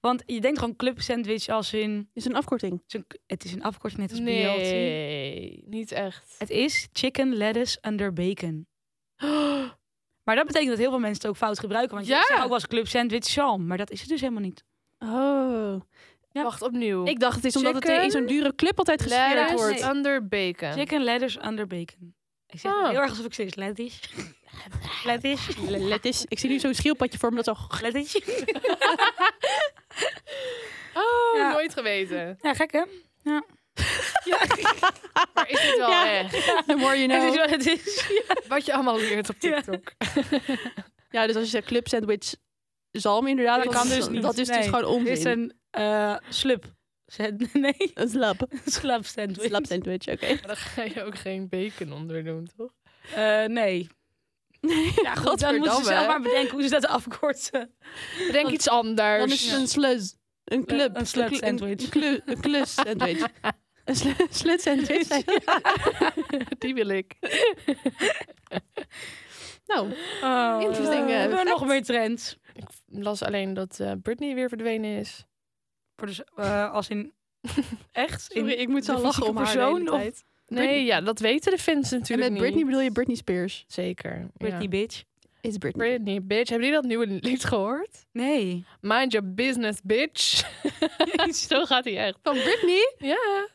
Speaker 4: Want je denkt gewoon club sandwich als in...
Speaker 2: Is een afkorting.
Speaker 4: het is een- Het is een afkorting net als BLT.
Speaker 1: Nee, niet echt.
Speaker 4: Het is chicken lettuce under bacon. Maar dat betekent dat heel veel mensen het ook fout gebruiken. Want
Speaker 1: Ja.
Speaker 4: je zegt ook wel eens club sandwich salm. Maar dat is het dus helemaal niet.
Speaker 2: Oh.
Speaker 4: Ja.
Speaker 1: Wacht, opnieuw.
Speaker 2: Ik dacht het eh, is omdat
Speaker 1: Chicken,
Speaker 2: het in zo'n dure club altijd gespeeld
Speaker 1: Lettuce
Speaker 2: wordt.
Speaker 1: under bacon.
Speaker 4: Chicken lettuce under bacon. Ik zeg het
Speaker 1: Ah.
Speaker 4: heel erg alsof ik steeds lettisch. Lettisch.
Speaker 2: Let is, ik zie nu zo'n schildpadje voor me dat zo...
Speaker 4: Lettisch.
Speaker 1: Oh,
Speaker 4: Ja.
Speaker 1: nooit geweten.
Speaker 4: Ja, gek hè?
Speaker 1: Maar is dit wel
Speaker 2: Ja.
Speaker 1: echt?
Speaker 2: The more you
Speaker 4: Het is wat
Speaker 2: know.
Speaker 4: het is.
Speaker 1: Wat je allemaal leert op
Speaker 4: Ja.
Speaker 1: TikTok.
Speaker 2: Ja, dus als je zegt club sandwich zalm inderdaad,
Speaker 4: Dat
Speaker 2: dan-
Speaker 4: kan dus niet.
Speaker 2: Dat is dus
Speaker 4: Nee.
Speaker 2: gewoon
Speaker 4: Dit
Speaker 2: onzin.
Speaker 4: is een eh slup. Zand- Nee,
Speaker 2: Een slap.
Speaker 4: een slap sandwich.
Speaker 2: Slap sandwich, oké.
Speaker 1: Dan ga je ook geen bacon onder doen, toch?
Speaker 4: Eh, nee. Ja, goed, dan moeten ze
Speaker 1: Godverdamme.
Speaker 4: zelf maar bedenken hoe ze dat afkorten.
Speaker 1: Denk iets anders.
Speaker 2: Dan is het een slus. Een club.
Speaker 4: Een slut
Speaker 2: kle-
Speaker 4: sandwich.
Speaker 2: Een, kle- een klus sandwich. Een slu- slut sandwich.
Speaker 1: Die wil ik.
Speaker 2: Nou,
Speaker 4: Oh,
Speaker 2: Interesting,
Speaker 4: We
Speaker 2: eh,
Speaker 4: hebben
Speaker 2: fact.
Speaker 4: nog meer trends.
Speaker 1: Ik las alleen dat eh, Britney weer verdwenen is.
Speaker 4: Voor dus, eh, als in echt?
Speaker 2: sorry,
Speaker 4: in
Speaker 2: ik moet zo
Speaker 4: de
Speaker 2: lachen
Speaker 4: fysieke
Speaker 2: om haar de hele
Speaker 4: persoon of
Speaker 2: tijd.
Speaker 1: Nee,
Speaker 2: Britney.
Speaker 1: ja, dat weten de fans
Speaker 2: En
Speaker 1: natuurlijk
Speaker 2: met Britney
Speaker 1: niet.
Speaker 2: bedoel je Britney Spears.
Speaker 1: Zeker.
Speaker 4: Britney
Speaker 1: ja.
Speaker 4: bitch?
Speaker 2: Is Britney.
Speaker 1: Britney, bitch. Hebben jullie dat nieuwe lied gehoord?
Speaker 4: Nee.
Speaker 1: Mind your business, bitch. Zo gaat hij echt.
Speaker 2: Van Britney?
Speaker 1: Ja,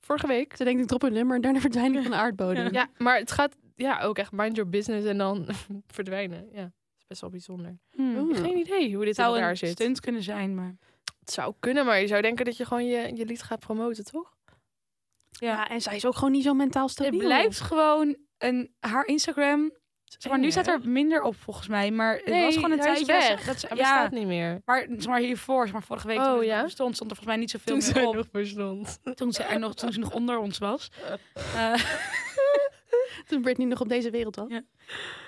Speaker 1: vorige week.
Speaker 2: Ze denkt ik drop een nummer en daarna verdwijn ik van de aardbodem.
Speaker 1: Ja, maar het gaat ja, ook echt mind your business en dan verdwijnen. Ja, dat is best wel bijzonder.
Speaker 4: Hmm.
Speaker 2: Oeh.
Speaker 1: Geen idee hoe dit
Speaker 4: Het zou
Speaker 1: in elkaar
Speaker 4: een
Speaker 1: zit.
Speaker 4: stunt kunnen zijn, maar...
Speaker 1: Het zou kunnen, maar je zou denken dat je gewoon je, je lied gaat promoten, toch?
Speaker 4: Ja.
Speaker 2: Ja, en zij is ook gewoon niet zo mentaal stabiel.
Speaker 4: Het blijft gewoon een, haar Instagram. Zeg maar, nu
Speaker 1: Ja.
Speaker 4: staat er minder op volgens mij, maar het was gewoon een
Speaker 1: hij is
Speaker 4: tijdje
Speaker 1: weg.
Speaker 4: Dat ze,
Speaker 1: Hij
Speaker 4: ja,
Speaker 1: bestaat niet meer.
Speaker 4: maar, zeg maar hiervoor, zeg maar vorige week
Speaker 1: Oh,
Speaker 4: toen het
Speaker 1: ja?
Speaker 4: nog bestond, stond er volgens mij niet zoveel
Speaker 1: Toen
Speaker 4: meer
Speaker 1: ze
Speaker 4: op.
Speaker 1: nog bestond.
Speaker 4: Toen, ze er nog, toen ze nog onder ons was. Eh,
Speaker 2: Toen Britney nog op deze wereld was.
Speaker 4: Ja.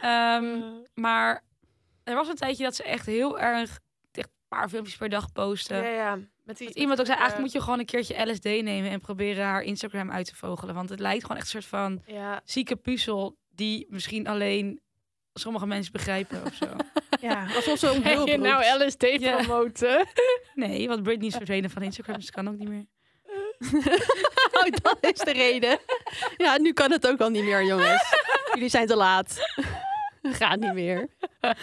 Speaker 4: ehm, maar er was een tijdje dat ze echt heel erg, echt een paar filmpjes per dag postte.
Speaker 1: ja. Met die,
Speaker 4: Dat iemand ook zei, eigenlijk
Speaker 1: eh,
Speaker 4: moet je gewoon een keertje LSD nemen en proberen haar Instagram uit te vogelen. Want het lijkt gewoon echt een soort van
Speaker 1: Ja,
Speaker 4: zieke puzzel die misschien alleen sommige mensen begrijpen of zo.
Speaker 2: Ja, alsof ze om
Speaker 1: Ga
Speaker 2: hulp
Speaker 1: je nou
Speaker 2: roept.
Speaker 1: LSD
Speaker 4: Ja.
Speaker 1: promoten?
Speaker 4: Nee, want Britney is verdwenen van Instagram, dus het kan ook niet meer.
Speaker 2: Oh, dat is de reden. Ja, nu kan het ook al niet meer, jongens. Jullie zijn te laat. Gaat niet meer.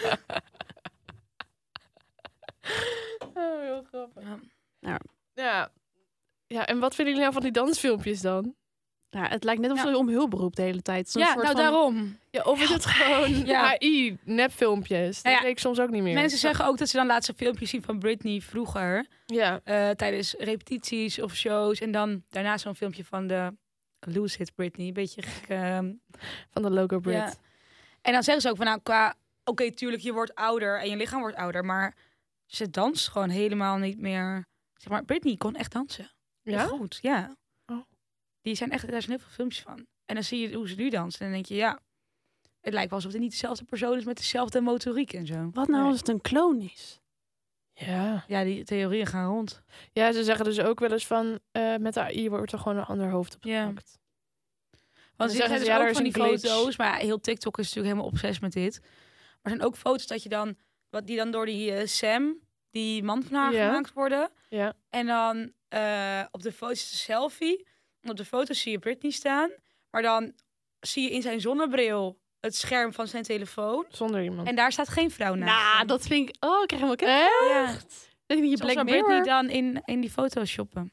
Speaker 1: Oh, heel grappig.
Speaker 4: Ja.
Speaker 2: Ja.
Speaker 1: Ja. ja, en wat vinden jullie nou van die dansfilmpjes dan?
Speaker 2: Ja, het lijkt net alsof
Speaker 4: Ja.
Speaker 2: ze om hulp roept de hele tijd. Zo'n
Speaker 4: ja,
Speaker 2: soort
Speaker 4: nou
Speaker 2: van-
Speaker 4: daarom.
Speaker 1: Ja, of is het gewoon
Speaker 4: Ja.
Speaker 1: AI, nepfilmpjes? Dat
Speaker 4: Nou ja,
Speaker 1: weet ik soms ook niet meer.
Speaker 4: Mensen zeggen ook dat ze dan laatste filmpjes zien van Britney vroeger.
Speaker 1: Ja.
Speaker 4: eh, tijdens repetities of shows. En dan daarna zo'n filmpje van de Lose It Britney. Een beetje gek. ehm,
Speaker 1: Van de logo Brit.
Speaker 4: Ja. En dan zeggen ze ook van nou qua... Oké, tuurlijk, je wordt ouder en je lichaam wordt ouder. Maar ze danst gewoon helemaal niet meer. Zeg maar, Britney kon echt dansen. Echt Goed, ja.
Speaker 1: Oh.
Speaker 4: Die zijn echt, daar zijn heel veel filmpjes van. En dan zie je hoe ze nu danst. En dan denk je, ja... Het lijkt wel alsof het niet dezelfde persoon is met dezelfde motoriek en zo.
Speaker 2: Wat nou
Speaker 1: Nee.
Speaker 2: als het een kloon is?
Speaker 1: Ja.
Speaker 4: Ja, die theorieën gaan rond.
Speaker 1: Ja, ze zeggen dus ook wel eens van... eh, met de AI wordt er gewoon een ander hoofd op
Speaker 4: Ja.
Speaker 1: geplakt.
Speaker 4: Want
Speaker 1: zeggen
Speaker 4: er zijn dus
Speaker 1: ze, ja,
Speaker 4: ook
Speaker 1: er is
Speaker 4: van die
Speaker 1: een glitch.
Speaker 4: foto's, maar heel TikTok is natuurlijk helemaal obsessief met dit. Maar er zijn ook foto's dat je dan, wat die dan door die eh, Sam, die man van haar
Speaker 1: Ja.
Speaker 4: gemaakt worden.
Speaker 1: Ja.
Speaker 4: En dan eh, op de foto's is een selfie. En op de foto's zie je Britney staan. Maar dan zie je in zijn zonnebril het scherm van zijn telefoon.
Speaker 1: Zonder iemand.
Speaker 4: En daar staat geen vrouw
Speaker 2: Nou,
Speaker 4: naast. hem.
Speaker 2: dat vind ik... Oh, ik krijg helemaal kip.
Speaker 1: Hè?
Speaker 4: Ja.
Speaker 2: Dat vind je
Speaker 4: Zoals
Speaker 2: Black
Speaker 4: zou
Speaker 2: Mirror.
Speaker 4: Britney dan in, in die foto's shoppen.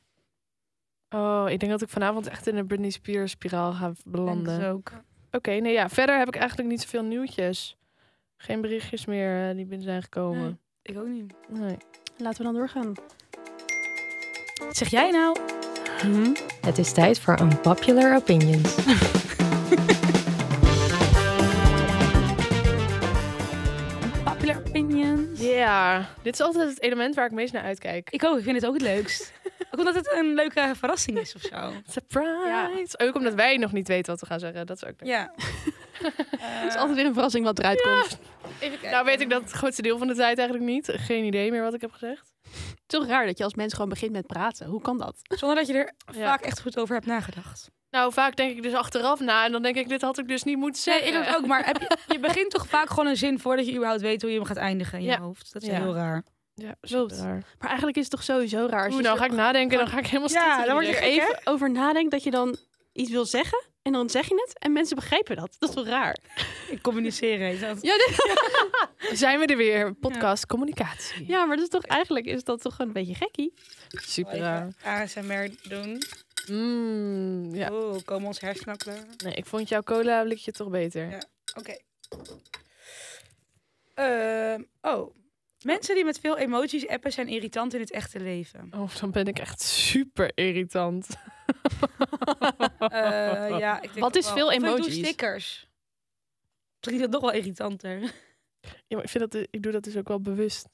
Speaker 1: Oh, ik denk dat ik vanavond echt in een Britney Spears spiraal ga
Speaker 4: Denk
Speaker 1: belanden.
Speaker 4: ze
Speaker 1: Oké,
Speaker 4: ook.
Speaker 1: nee ja. Verder heb ik eigenlijk niet zoveel nieuwtjes. Geen berichtjes meer eh, die binnen zijn gekomen.
Speaker 4: Ik ook niet.
Speaker 1: Nee.
Speaker 2: Laten we dan doorgaan.
Speaker 4: Wat zeg jij nou?
Speaker 2: Hmm?
Speaker 5: Het is tijd voor Unpopular Opinions.
Speaker 4: Popular opinions.
Speaker 1: Ja, dit is altijd het element waar ik meest naar uitkijk.
Speaker 4: Ik ook, ik vind het ook het leukst. ook omdat het een leuke verrassing is of zo.
Speaker 1: Surprise! Ook omdat wij nog niet weten wat we gaan zeggen. Dat is ook leuk.
Speaker 4: Ja.
Speaker 2: Het is altijd weer een verrassing wat eruit komt.
Speaker 4: even kijken.
Speaker 1: Nou weet ik dat het grootste deel van de tijd eigenlijk niet. Geen idee meer wat ik heb gezegd.
Speaker 2: Toch raar dat je als mens gewoon begint met praten. Hoe kan dat?
Speaker 4: Zonder dat je er
Speaker 1: Ja.
Speaker 4: vaak echt goed over hebt nagedacht.
Speaker 1: Nou, vaak denk ik dus achteraf na en dan denk ik, dit had ik dus niet moeten zeggen.
Speaker 4: ook. Maar heb je, je begint toch vaak gewoon een zin voordat je überhaupt weet hoe je hem gaat eindigen in
Speaker 1: Ja.
Speaker 4: je hoofd. Dat is
Speaker 1: Ja.
Speaker 4: heel raar.
Speaker 1: Ja,
Speaker 2: Klopt.
Speaker 1: super.
Speaker 2: Maar eigenlijk is het toch sowieso raar. Als
Speaker 1: Oeh,
Speaker 2: je
Speaker 1: nou
Speaker 2: zo-
Speaker 1: ga ik nadenken, dan ga ik helemaal stil.
Speaker 4: dan word je
Speaker 2: er
Speaker 4: gek,
Speaker 2: even over nadenkt dat je dan iets wil zeggen. En dan zeg je het. En mensen begrijpen dat. Dat is wel raar.
Speaker 4: Ik communiceer heet dat.
Speaker 2: Ja, dit-
Speaker 1: Zijn we er weer. Podcast Communicatie.
Speaker 2: ja maar dat is toch, eigenlijk is dat toch gewoon een beetje gekkie.
Speaker 1: Super raar.
Speaker 4: ASMR doen.
Speaker 1: Mm, ja.
Speaker 4: Oh, komen ons hersenen klaar.
Speaker 1: Nee, ik vond jouw cola blikje toch beter.
Speaker 4: Ja. Oké. Ehm, oh. Mensen die met veel emoties appen zijn irritant in het echte leven.
Speaker 1: Of Oh, dan ben ik echt super irritant.
Speaker 4: Eh, ja, ik denk
Speaker 2: Wat
Speaker 4: ook
Speaker 2: is
Speaker 4: wel.
Speaker 2: veel
Speaker 4: Of ik doe
Speaker 2: emojis?
Speaker 4: stickers. Misschien is dat nog wel irritanter.
Speaker 1: Ja, maar ik, vind dat, ik doe dat dus ook wel bewust.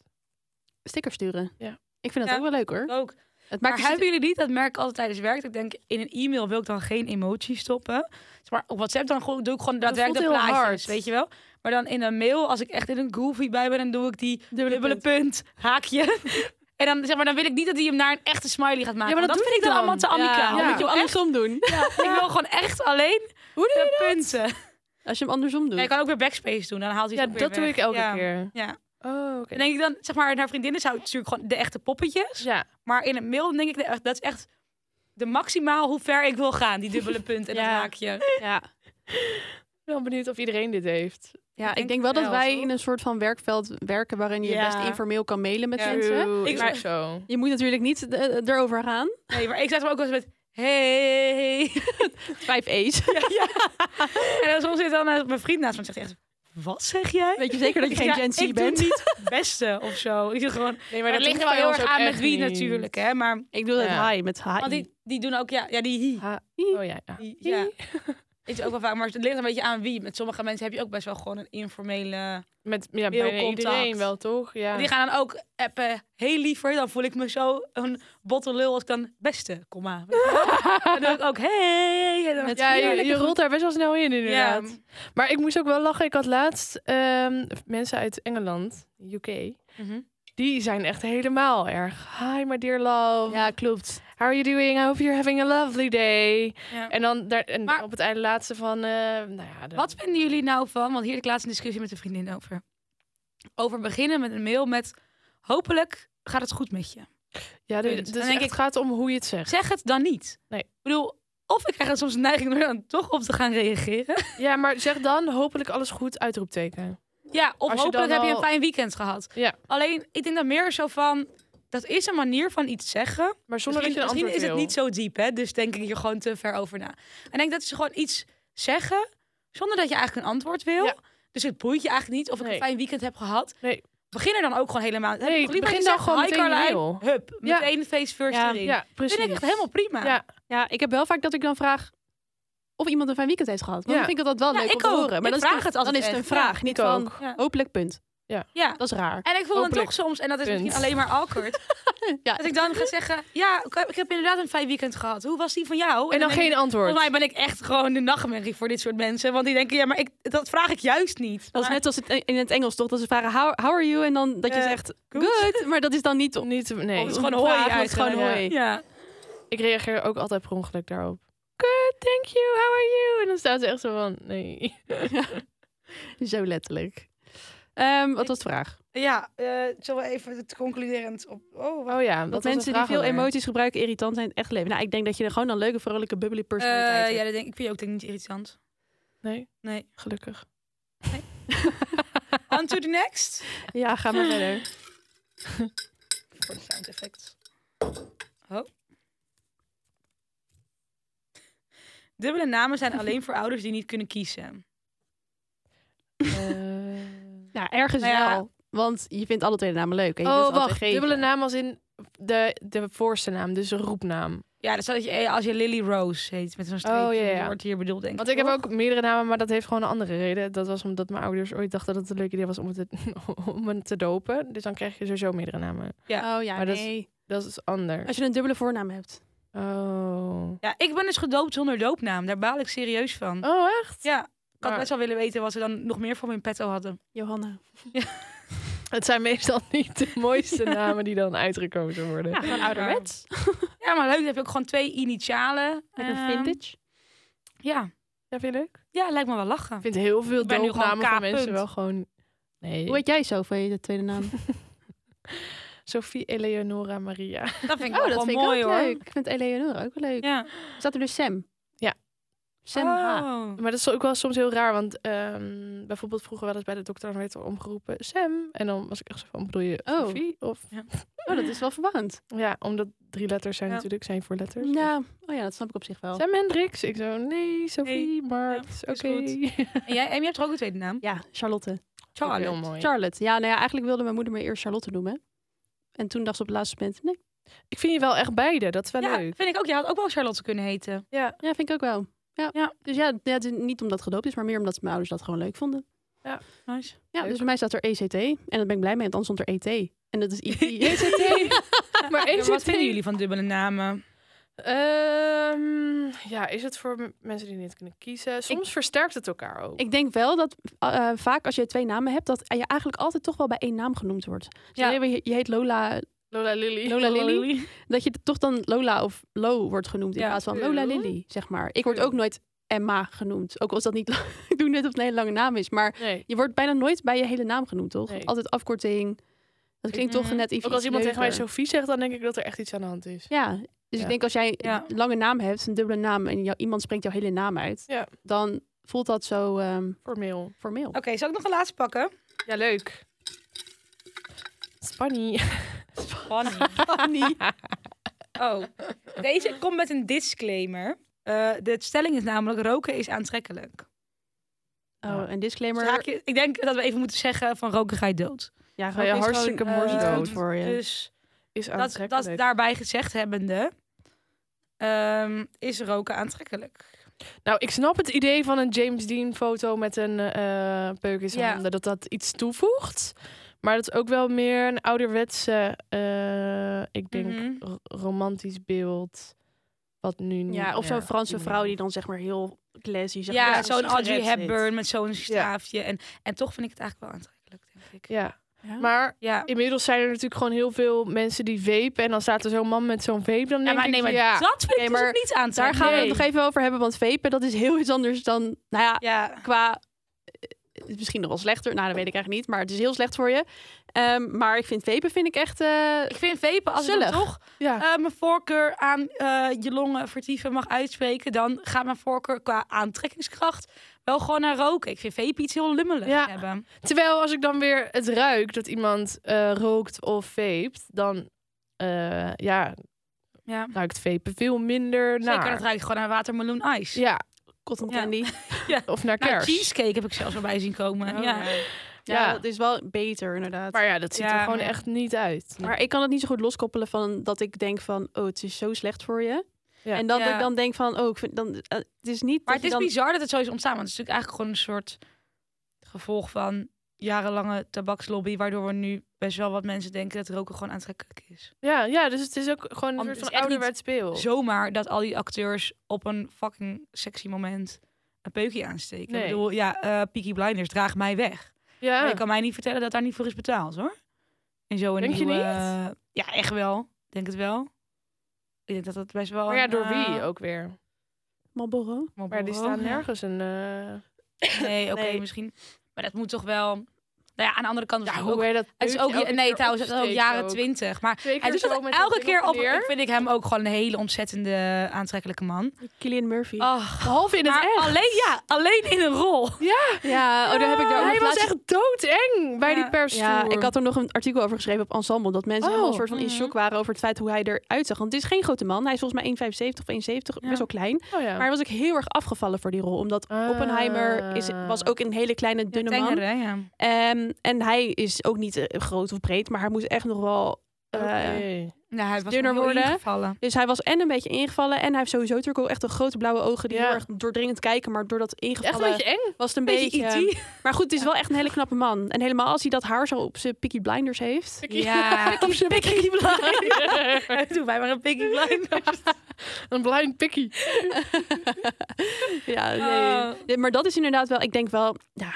Speaker 2: Stickers sturen.
Speaker 1: Ja.
Speaker 2: Ik vind dat
Speaker 4: Ja.
Speaker 2: ook wel leuk hoor.
Speaker 4: Ook.
Speaker 2: Het
Speaker 4: Maar
Speaker 2: maakt
Speaker 4: hebben jullie niet, dat merk ik altijd tijdens werk, dat ik denk, in een e-mail wil ik dan geen emotie stoppen. Maar op WhatsApp dan gewoon- doe ik gewoon daadwerkelijk de
Speaker 1: voelt heel
Speaker 4: plaatjes,
Speaker 1: hard.
Speaker 4: weet je wel. Maar dan in een mail, als ik echt in een goofy bij ben, dan doe ik die
Speaker 2: Dubbele
Speaker 4: dubbele punt, haakje. en dan, zeg maar, dan wil ik niet dat hij hem naar een echte smiley gaat maken.
Speaker 1: Ja, maar
Speaker 4: want
Speaker 1: dat doe
Speaker 4: vind
Speaker 1: ik
Speaker 4: ik dan,
Speaker 1: dan.
Speaker 4: allemaal te
Speaker 2: Ja,
Speaker 4: amicaal.
Speaker 2: ja.
Speaker 4: Weet je
Speaker 2: Moet
Speaker 4: wel,
Speaker 2: je
Speaker 4: echt,
Speaker 2: andersom doen.
Speaker 4: Ik wil gewoon echt alleen
Speaker 1: Hoe
Speaker 4: de punten.
Speaker 2: Als je hem andersom doet.
Speaker 4: Ja, je kan ook weer backspace doen, dan haalt hij het
Speaker 1: Ja,
Speaker 4: ook
Speaker 1: dat
Speaker 4: weer
Speaker 1: doe
Speaker 4: weg.
Speaker 1: ik elke
Speaker 4: Ja.
Speaker 1: keer.
Speaker 4: Ja.
Speaker 1: Oh, oké.
Speaker 4: Dan denk ik dan, zeg maar, naar vriendinnen zou ik natuurlijk gewoon de echte poppetjes.
Speaker 1: Ja,
Speaker 4: Maar in het mail dan denk ik, echt, dat is echt de maximaal hoe ver ik wil gaan. Die dubbele punt en dat
Speaker 2: Ja.
Speaker 4: haakje.
Speaker 2: Ja.
Speaker 1: ik ben wel benieuwd of iedereen dit heeft.
Speaker 2: Ja,
Speaker 4: denk
Speaker 2: ik denk
Speaker 4: het
Speaker 2: wel dat
Speaker 4: wel,
Speaker 2: wij
Speaker 4: toch?
Speaker 2: in een soort van werkveld werken waarin je
Speaker 4: Ja.
Speaker 2: best informeel kan mailen met
Speaker 4: Ja.
Speaker 2: mensen.
Speaker 1: True,
Speaker 4: Ik-
Speaker 1: is
Speaker 4: maar-
Speaker 1: ook zo.
Speaker 2: Je moet natuurlijk niet eh, eh, erover gaan.
Speaker 4: Nee, maar ik zat er ook wel eens met, hey.
Speaker 2: Vijf A's.
Speaker 4: Ja, ja. En dan soms zit dan eh, mijn vriend naast me en zegt echt, wat zeg jij?
Speaker 2: Weet je zeker dat je
Speaker 4: Ik zeg,
Speaker 2: geen
Speaker 4: "Ja,
Speaker 2: Gen Z
Speaker 4: ik
Speaker 2: bent?
Speaker 4: doe niet beste of zo. Ik doe gewoon,
Speaker 1: Nee,
Speaker 4: maar dat ligt er wel heel erg aan met wie natuurlijk. Hè? Maar,
Speaker 2: Ik doe dat
Speaker 1: Ja.
Speaker 2: hi met hi.
Speaker 4: want die, die doen ook, ja, ja die hi.
Speaker 1: Oh ja, ja.
Speaker 4: Die- ja. Is ook wel vaak, maar het ligt een beetje aan wie. Met sommige mensen heb je ook best wel gewoon een informele...
Speaker 1: Met ja,
Speaker 4: Heel
Speaker 1: bijna
Speaker 4: contact.
Speaker 1: iedereen wel, toch? Ja.
Speaker 4: Die gaan dan ook appen, heel liever, dan voel ik me zo een botte lul als ik dan beste, komma. dan doe ik ook, hey. En dan-
Speaker 2: Met-
Speaker 1: Ja,
Speaker 2: Ja,
Speaker 1: je,
Speaker 2: lekker
Speaker 1: je rolt daar best wel snel in,
Speaker 4: ja,
Speaker 1: inderdaad. Maar ik moest ook wel lachen. Ik had laatst ehm, mensen uit Engeland, UK,
Speaker 4: Mhm.
Speaker 1: die zijn echt helemaal erg. Hi, my dear love.
Speaker 2: Ja, klopt.
Speaker 1: How are you doing? I hope you're having a lovely day.
Speaker 4: ja.
Speaker 1: En dan daar, en
Speaker 4: Maar-
Speaker 1: op het einde laatste van, eh, nou ja, de-
Speaker 4: Wat vinden jullie nou van, want hier heb ik laatst een discussie met een vriendin over. Over beginnen met een mail met, hopelijk gaat het goed met je.
Speaker 1: Ja, dus,
Speaker 4: punt.
Speaker 1: dus
Speaker 4: Dan denk
Speaker 1: echt,
Speaker 4: ik-
Speaker 1: het gaat om hoe je het zegt.
Speaker 4: Zeg het dan niet.
Speaker 1: Nee.
Speaker 4: Ik bedoel, of ik krijg dan soms een neiging om er dan toch op te gaan reageren.
Speaker 1: Ja, maar zeg dan hopelijk alles goed, uitroepteken.
Speaker 4: Ja, of
Speaker 1: Als je
Speaker 4: hopelijk
Speaker 1: dan
Speaker 4: heb je een
Speaker 1: al-
Speaker 4: fijn weekend gehad.
Speaker 1: Ja.
Speaker 4: Alleen, ik denk dat meer zo van, dat is een manier van iets zeggen.
Speaker 1: Maar zonder
Speaker 4: misschien,
Speaker 1: dat je een
Speaker 4: misschien
Speaker 1: antwoord
Speaker 4: is het
Speaker 1: wil.
Speaker 4: niet zo diep, hè? Dus denk ik hier gewoon te ver over na. En ik denk dat ze gewoon iets zeggen zonder dat je eigenlijk een antwoord wil.
Speaker 1: Ja.
Speaker 4: Dus het boeit je eigenlijk niet of ik
Speaker 1: Nee.
Speaker 4: een fijn weekend heb gehad.
Speaker 1: Nee.
Speaker 4: Begin er dan ook gewoon helemaal. Heb
Speaker 1: Nee,
Speaker 4: ik toch liever
Speaker 1: begin dan
Speaker 4: gezegd,
Speaker 1: gewoon
Speaker 4: "Hi,
Speaker 1: meteen je
Speaker 4: Carlijn."
Speaker 1: mail.
Speaker 4: Hup,
Speaker 1: Ja.
Speaker 4: meteen face first
Speaker 2: Ja.
Speaker 4: erin.
Speaker 1: Ja, precies.
Speaker 4: Vind ik echt helemaal prima.
Speaker 1: Ja.
Speaker 2: Ja, ik heb wel vaak dat ik dan vraag of iemand een fijn weekend heeft gehad. Want
Speaker 1: Ja.
Speaker 2: dan vind ik dat wel
Speaker 4: Ja,
Speaker 2: leuk
Speaker 4: ik
Speaker 2: om te
Speaker 4: ook.
Speaker 2: horen. Maar
Speaker 4: Ik
Speaker 2: dan,
Speaker 4: vraag
Speaker 2: is
Speaker 4: het
Speaker 2: het, dan
Speaker 4: altijd
Speaker 2: is het een
Speaker 4: echt. Ja,
Speaker 2: vraag, niet
Speaker 1: ik
Speaker 2: van
Speaker 1: ook.
Speaker 4: Ja.
Speaker 2: hopelijk punt.
Speaker 4: Ja.
Speaker 2: Dat is raar.
Speaker 4: En ik voel dan
Speaker 1: Hopelijk.
Speaker 4: toch soms, en dat is
Speaker 1: Punt.
Speaker 4: misschien alleen maar awkward,
Speaker 2: Ja,
Speaker 4: dat ik dan ga zeggen, ja, ik heb- ik heb inderdaad een fijn weekend gehad. Hoe was die van jou?
Speaker 1: En dan
Speaker 4: denk ik,
Speaker 1: geen antwoord.
Speaker 4: Volgens mij ben ik echt gewoon de nachtmerrie voor dit soort mensen. Want die denken, ja, maar ik, dat vraag ik juist niet.
Speaker 2: dat is net als het in het Engels toch, dat ze vragen how, how are you? En dan dat je
Speaker 4: Eh,
Speaker 2: zegt
Speaker 4: good.
Speaker 2: good. maar dat is dan niet... om-
Speaker 1: Niet, nee.
Speaker 4: het is gewoon
Speaker 2: Vragen,
Speaker 4: hooi
Speaker 2: want het is
Speaker 4: eigenlijk,
Speaker 2: gewoon
Speaker 1: ja.
Speaker 2: hooi.
Speaker 4: Ja.
Speaker 1: Ik reageer ook altijd per ongeluk daarop. Good, thank you, how are you? En dan staat ze echt zo van, nee.
Speaker 4: Oh
Speaker 2: Zo letterlijk. Ehm, wat was de vraag?
Speaker 4: Ja, eh zullen we even het concluderend op... Oh,
Speaker 1: Oh ja, dat
Speaker 2: Dat,
Speaker 1: was de
Speaker 2: mensen die
Speaker 1: vraag
Speaker 2: veel
Speaker 1: alweer.
Speaker 2: emoties gebruiken irritant zijn in het echt leven. Nou, ik denk dat je er gewoon een leuke, vrolijke, bubbly personaliteit
Speaker 4: ja,
Speaker 2: hebt.
Speaker 4: dat denk ik. vind je ook denk ik niet irritant.
Speaker 1: Nee,
Speaker 4: Nee.
Speaker 1: gelukkig.
Speaker 4: On to the next.
Speaker 2: Ja, ga maar verder.
Speaker 4: Voor de sound effect. Oh. Dubbele namen zijn alleen voor ouders die niet kunnen kiezen. Eh,
Speaker 2: Eh, Nou, ergens
Speaker 4: Nou ja.
Speaker 2: wel. Want je vindt alle twee de namen leuk. En je wilt
Speaker 1: oh,
Speaker 2: ze altijd
Speaker 1: wacht.
Speaker 2: geven.
Speaker 1: Dubbele naam als in de, de voorste naam, dus de roepnaam.
Speaker 4: Ja, dat staat dat je eh, als je Lily Rose heet met zo'n streepje.
Speaker 1: Oh, ja, ja.
Speaker 4: Dat wordt hier bedoeld, denk ik.
Speaker 1: Want ik heb ook meerdere namen, maar dat heeft gewoon een andere reden. Dat was omdat mijn ouders ooit dachten dat het een leuk idee was om het te, om het te dopen. Dus dan krijg je sowieso meerdere namen.
Speaker 2: Oh ja,
Speaker 1: Maar dat is-
Speaker 2: nee.
Speaker 1: Dat is anders.
Speaker 2: Als je een dubbele voornaam hebt.
Speaker 1: Oh.
Speaker 4: Ja, ik ben dus gedoopt zonder doopnaam. Daar baal ik serieus van.
Speaker 1: Oh, echt?
Speaker 4: Ja, ik had
Speaker 1: Maar-
Speaker 4: best wel willen weten wat ze dan nog meer voor me in petto hadden.
Speaker 2: Johanna.
Speaker 1: Het zijn meestal niet de mooiste namen die dan uitgekozen worden.
Speaker 2: Ja, gewoon ouderwets.
Speaker 4: Ja, maar leuk. Dan heb je ook gewoon twee initialen.
Speaker 2: Lekker
Speaker 4: Ehm,
Speaker 2: vintage.
Speaker 4: Ja.
Speaker 1: Ja, vind je leuk?
Speaker 4: ja, lijkt me wel lachen.
Speaker 1: Ik vind heel veel
Speaker 4: Ik ben nu gewoon
Speaker 1: doopnamen van
Speaker 4: K.
Speaker 1: mensen wel gewoon... Nee.
Speaker 2: Hoe heet jij zo van je tweede naam?
Speaker 1: Sophie Eleonora Maria.
Speaker 2: Oh,
Speaker 4: Dat vind ik wel gewoon mooi hoor.
Speaker 2: leuk. Ik vind Eleonora ook wel leuk.
Speaker 4: Ja.
Speaker 2: Staat er dus Sam?
Speaker 1: Ja.
Speaker 2: Sam H.
Speaker 4: Oh.
Speaker 1: Maar dat is ook wel soms heel raar, want ehm, bijvoorbeeld vroeger wel eens bij de dokter, dan werd er omgeroepen Sam. En dan was ik echt zo van, bedoel je
Speaker 2: Oh.
Speaker 1: Sophie? Of,
Speaker 2: Oh, dat is wel verwarrend.
Speaker 1: ja, omdat drie letters zijn
Speaker 4: Ja.
Speaker 1: natuurlijk, zijn voor letters.
Speaker 2: Ja, oh ja, dat snap ik op zich wel.
Speaker 1: Sam Hendricks. Ik zo, nee, Sophie, maar
Speaker 4: Ja,
Speaker 1: het is
Speaker 4: is
Speaker 1: oké.
Speaker 4: En jij, en jij hebt er ook een tweede naam?
Speaker 2: Ja, Charlotte.
Speaker 4: Charlotte.
Speaker 1: Heel mooi.
Speaker 2: Charlotte. Ja, nou ja, eigenlijk wilde mijn moeder me eerst Charlotte noemen. En toen dacht ze op het laatste moment, nee.
Speaker 1: Ik vind je wel echt beide, dat is wel
Speaker 4: Ja,
Speaker 1: leuk.
Speaker 4: vind ik ook. Je had ook wel Charlotte kunnen heten.
Speaker 1: Ja,
Speaker 2: Ja, vind ik ook wel. Ja.
Speaker 4: Ja.
Speaker 2: Dus ja, ja, het is niet omdat het gedoopt is, maar meer omdat mijn ouders dat gewoon leuk vonden.
Speaker 4: Nice.
Speaker 2: Ja,
Speaker 1: Leuk.
Speaker 2: dus bij mij staat er ECT. En daar ben ik blij mee, want anders stond er ET. En dat is IT.
Speaker 1: maar
Speaker 4: Ja,
Speaker 1: is
Speaker 4: wat
Speaker 1: het
Speaker 4: vinden
Speaker 1: een-
Speaker 4: jullie van dubbele namen?
Speaker 1: Ehm, ja, is het voor m- mensen die niet kunnen kiezen? Soms versterkt het elkaar ook.
Speaker 2: Ik denk wel dat eh, eh, vaak als je twee namen hebt, dat je eigenlijk altijd toch wel bij één naam genoemd wordt. Dus
Speaker 4: Ja.
Speaker 2: ja. je, je heet Lola,
Speaker 1: Lola Lily.
Speaker 2: Lola Lily. Dat je toch dan Lola of Lo wordt genoemd in
Speaker 4: Ja.
Speaker 2: plaats van Lola
Speaker 1: True.
Speaker 2: Lily, zeg maar. Ik word
Speaker 1: True.
Speaker 2: ook nooit Emma genoemd. Ook als dat niet, ik doe net of het een hele lange naam is. Maar
Speaker 1: Nee.
Speaker 2: je wordt bijna nooit bij je hele naam genoemd, toch?
Speaker 1: Nee. mm.
Speaker 2: Altijd afkorting. Dat klinkt toch
Speaker 4: Mhm.
Speaker 2: net iets
Speaker 1: Ook als iemand tegen mij
Speaker 2: leuker.
Speaker 1: Sophie zegt, dan denk ik dat er echt iets aan de hand is.
Speaker 2: Ja,
Speaker 1: Ja.
Speaker 2: dus ik denk als jij
Speaker 4: Ja.
Speaker 2: een lange naam hebt, een dubbele naam, en jou- iemand spreekt jouw hele naam uit,
Speaker 1: Ja.
Speaker 2: dan voelt dat zo ehm,
Speaker 1: Formeel.
Speaker 2: formeel.
Speaker 4: Oké, zal ik nog een laatste pakken?
Speaker 1: Ja, leuk. Spanny.
Speaker 4: Funny. Oh, deze komt met een disclaimer. Eh, de stelling is namelijk roken is aantrekkelijk.
Speaker 1: Ja.
Speaker 2: Oh, een disclaimer.
Speaker 4: Haakje- ik denk dat we even moeten zeggen van roken ga je dood.
Speaker 2: Ja,
Speaker 1: Ga je
Speaker 2: roken is
Speaker 1: hartstikke
Speaker 2: gewoon,
Speaker 1: mors
Speaker 2: eh,
Speaker 1: dood.
Speaker 2: goed voor je.
Speaker 4: Dus
Speaker 1: Is
Speaker 4: dat,
Speaker 1: aantrekkelijk.
Speaker 4: dat daarbij gezegd hebbende ehm, is roken aantrekkelijk.
Speaker 1: Nou, ik snap het idee van een James Dean foto met een eh peuk in zijn
Speaker 4: Ja.
Speaker 1: handen. Dat dat iets toevoegt. Maar dat is ook wel meer een ouderwetse, eh, ik denk,
Speaker 4: Mhm.
Speaker 1: ro- romantisch beeld. Wat nu niet
Speaker 2: Ja, of zo'n
Speaker 1: meer
Speaker 2: Franse
Speaker 1: op
Speaker 2: vrouw
Speaker 1: manier-
Speaker 2: die dan zeg maar heel classy zeg
Speaker 4: ja,
Speaker 2: maar,
Speaker 4: zo'n Audrey
Speaker 2: sigaret zit.
Speaker 4: Hepburn met zo'n staafje. En, en toch vind ik het eigenlijk wel aantrekkelijk, denk ik.
Speaker 1: Ja.
Speaker 2: Ja.
Speaker 1: maar
Speaker 4: Ja.
Speaker 1: inmiddels zijn er natuurlijk gewoon heel veel mensen die vapen. En dan staat er zo'n man met zo'n vape. Dan
Speaker 4: Ja,
Speaker 1: denk
Speaker 4: maar nee,
Speaker 1: ik,
Speaker 4: maar
Speaker 1: ja,
Speaker 4: dat vind ik
Speaker 2: Nee,
Speaker 4: dus
Speaker 2: maar
Speaker 4: ook niet
Speaker 2: Daar
Speaker 4: aantrekkelijk.
Speaker 2: gaan we het
Speaker 1: Nee.
Speaker 2: nog even over hebben, want vapen dat is heel iets anders dan, nou ja,
Speaker 4: Ja,
Speaker 2: qua eh, het is misschien nog wel slechter. Nou, dat weet ik eigenlijk niet, maar het is heel slecht voor je. Ehm, maar ik vind vapen vind ik echt eh,
Speaker 4: ik vind vapen als ik dan
Speaker 2: Zullig.
Speaker 4: toch
Speaker 1: ja.
Speaker 4: eh, mijn voorkeur aan eh, je longen vertieven mag uitspreken, dan gaat mijn voorkeur qua aantrekkingskracht wel gewoon naar roken. Ik vind vape iets heel lummelig
Speaker 1: Ja.
Speaker 4: hebben.
Speaker 1: Terwijl als ik dan weer het ruik dat iemand eh, rookt of vapet, dan eh, ja,
Speaker 4: Ja.
Speaker 1: ruikt vapen veel minder naar.
Speaker 4: Zeker, dat ruikt gewoon naar watermeloen ice.
Speaker 1: Ja,
Speaker 2: cotton
Speaker 4: Ja.
Speaker 2: candy.
Speaker 1: of naar
Speaker 4: Nou,
Speaker 1: kerst.
Speaker 4: cheesecake heb ik zelfs voorbij zien komen.
Speaker 2: Oh,
Speaker 4: ja.
Speaker 2: Ja,
Speaker 1: Ja.
Speaker 2: dat is wel beter inderdaad.
Speaker 1: Maar ja, dat ziet
Speaker 4: Ja,
Speaker 1: er gewoon
Speaker 4: maar-
Speaker 1: echt niet uit.
Speaker 2: Maar ik kan het niet zo goed loskoppelen van dat ik denk van, oh, het is zo slecht voor je.
Speaker 1: Ja.
Speaker 2: En dat
Speaker 4: Ja.
Speaker 2: ik dan denk van, oh, ik vind, dan, eh, het is niet.
Speaker 4: Maar het
Speaker 2: dat je
Speaker 4: is
Speaker 2: dan...
Speaker 4: bizar dat het zo is ontstaan, want het is natuurlijk eigenlijk gewoon een soort gevolg van jarenlange tabakslobby, waardoor we nu best wel wat mensen denken dat roken gewoon aantrekkelijk is.
Speaker 1: Ja, ja, dus het is ook gewoon een
Speaker 4: Want
Speaker 1: soort
Speaker 4: het
Speaker 1: van
Speaker 4: is echt niet
Speaker 1: ouderwets beeld.
Speaker 4: Zomaar dat al die acteurs op een fucking sexy moment een peukje aansteken.
Speaker 1: Nee. Ah.
Speaker 4: Ik bedoel, ja, eh Peaky Blinders, draag mij weg.
Speaker 1: Ja,
Speaker 4: Maar je kan mij niet vertellen dat daar niet voor is betaald, hoor. En zo een
Speaker 1: Denk je
Speaker 4: nieuwe-
Speaker 1: niet?
Speaker 4: Ja, echt wel. Denk het wel. Ik denk dat dat best wel...
Speaker 1: maar ja,
Speaker 4: een,
Speaker 1: door
Speaker 4: eh, Oh,
Speaker 1: wie ook weer.
Speaker 2: Marlboro?
Speaker 1: Maar die staan
Speaker 4: ja.
Speaker 1: nergens een... eh,
Speaker 4: Nee, oké,
Speaker 2: Nee.
Speaker 4: misschien. Maar dat moet toch wel... Nou ja, aan de andere kant... was
Speaker 1: Ja,
Speaker 4: het
Speaker 1: hoe
Speaker 4: ook...
Speaker 1: weer dat...
Speaker 4: Het is ook...
Speaker 1: elke
Speaker 4: nee,
Speaker 1: keer
Speaker 4: trouwens, het is ook
Speaker 1: opsteekt
Speaker 4: jaren
Speaker 1: ook.
Speaker 4: twintig. Maar
Speaker 1: Twee
Speaker 4: hij
Speaker 1: keer
Speaker 4: doet
Speaker 1: zo
Speaker 4: het
Speaker 1: met
Speaker 4: elke
Speaker 1: dat ding
Speaker 4: keer op...
Speaker 1: neer.
Speaker 4: Ik vind ik hem ook gewoon een hele ontzettende aantrekkelijke man.
Speaker 2: Killian Murphy.
Speaker 4: Ach,
Speaker 1: Behalve in het
Speaker 4: maar
Speaker 1: echt.
Speaker 4: alleen, ja, alleen in een rol.
Speaker 2: Ja, oh, daar heb ik daar ook
Speaker 1: Hij
Speaker 2: nog
Speaker 1: was
Speaker 2: laatst-
Speaker 1: echt doodeng bij
Speaker 4: Ja.
Speaker 1: die pers.
Speaker 2: Ja, ik had er nog een artikel over geschreven op Ensemble. Dat mensen
Speaker 1: Oh.
Speaker 2: helemaal een soort van in
Speaker 4: Mhm.
Speaker 2: shock waren over het feit hoe hij eruit zag. Want het is geen grote man. Hij is volgens mij 1,75 of 1,70.
Speaker 4: Ja.
Speaker 2: Best wel klein.
Speaker 1: Oh, ja.
Speaker 2: Maar hij was ook heel erg afgevallen voor die rol. Omdat
Speaker 1: Ah.
Speaker 2: Oppenheimer is, was ook een hele kleine, dunne man.
Speaker 4: Tengere, ja.
Speaker 2: Ehm, en hij is ook niet eh, groot of breed. Maar hij moest echt nog wel... eh,
Speaker 1: Oké.
Speaker 4: Nou, hij was
Speaker 2: Dunner
Speaker 4: nog heel
Speaker 2: worden.
Speaker 4: ingevallen.
Speaker 2: Dus hij was en een beetje ingevallen. En hij heeft sowieso natuurlijk ook echt een grote blauwe ogen. Die
Speaker 1: Ja.
Speaker 2: heel erg doordringend kijken. Maar door dat
Speaker 1: Echt een
Speaker 2: ingevallen
Speaker 1: beetje E eng.
Speaker 2: was het een beetje...
Speaker 4: Beetje IT.
Speaker 2: Maar goed, het is wel echt een hele knappe man. En helemaal als hij dat haar zo op zijn Peaky Blinders heeft.
Speaker 4: Ja,
Speaker 1: Op zijn
Speaker 4: Piggy Blind. Doe mij maar een Piggy Blind.
Speaker 1: Een blind pikkie.
Speaker 2: ja,
Speaker 4: Oh.
Speaker 2: nee. Nee, Maar dat is inderdaad wel, ik denk wel, ja.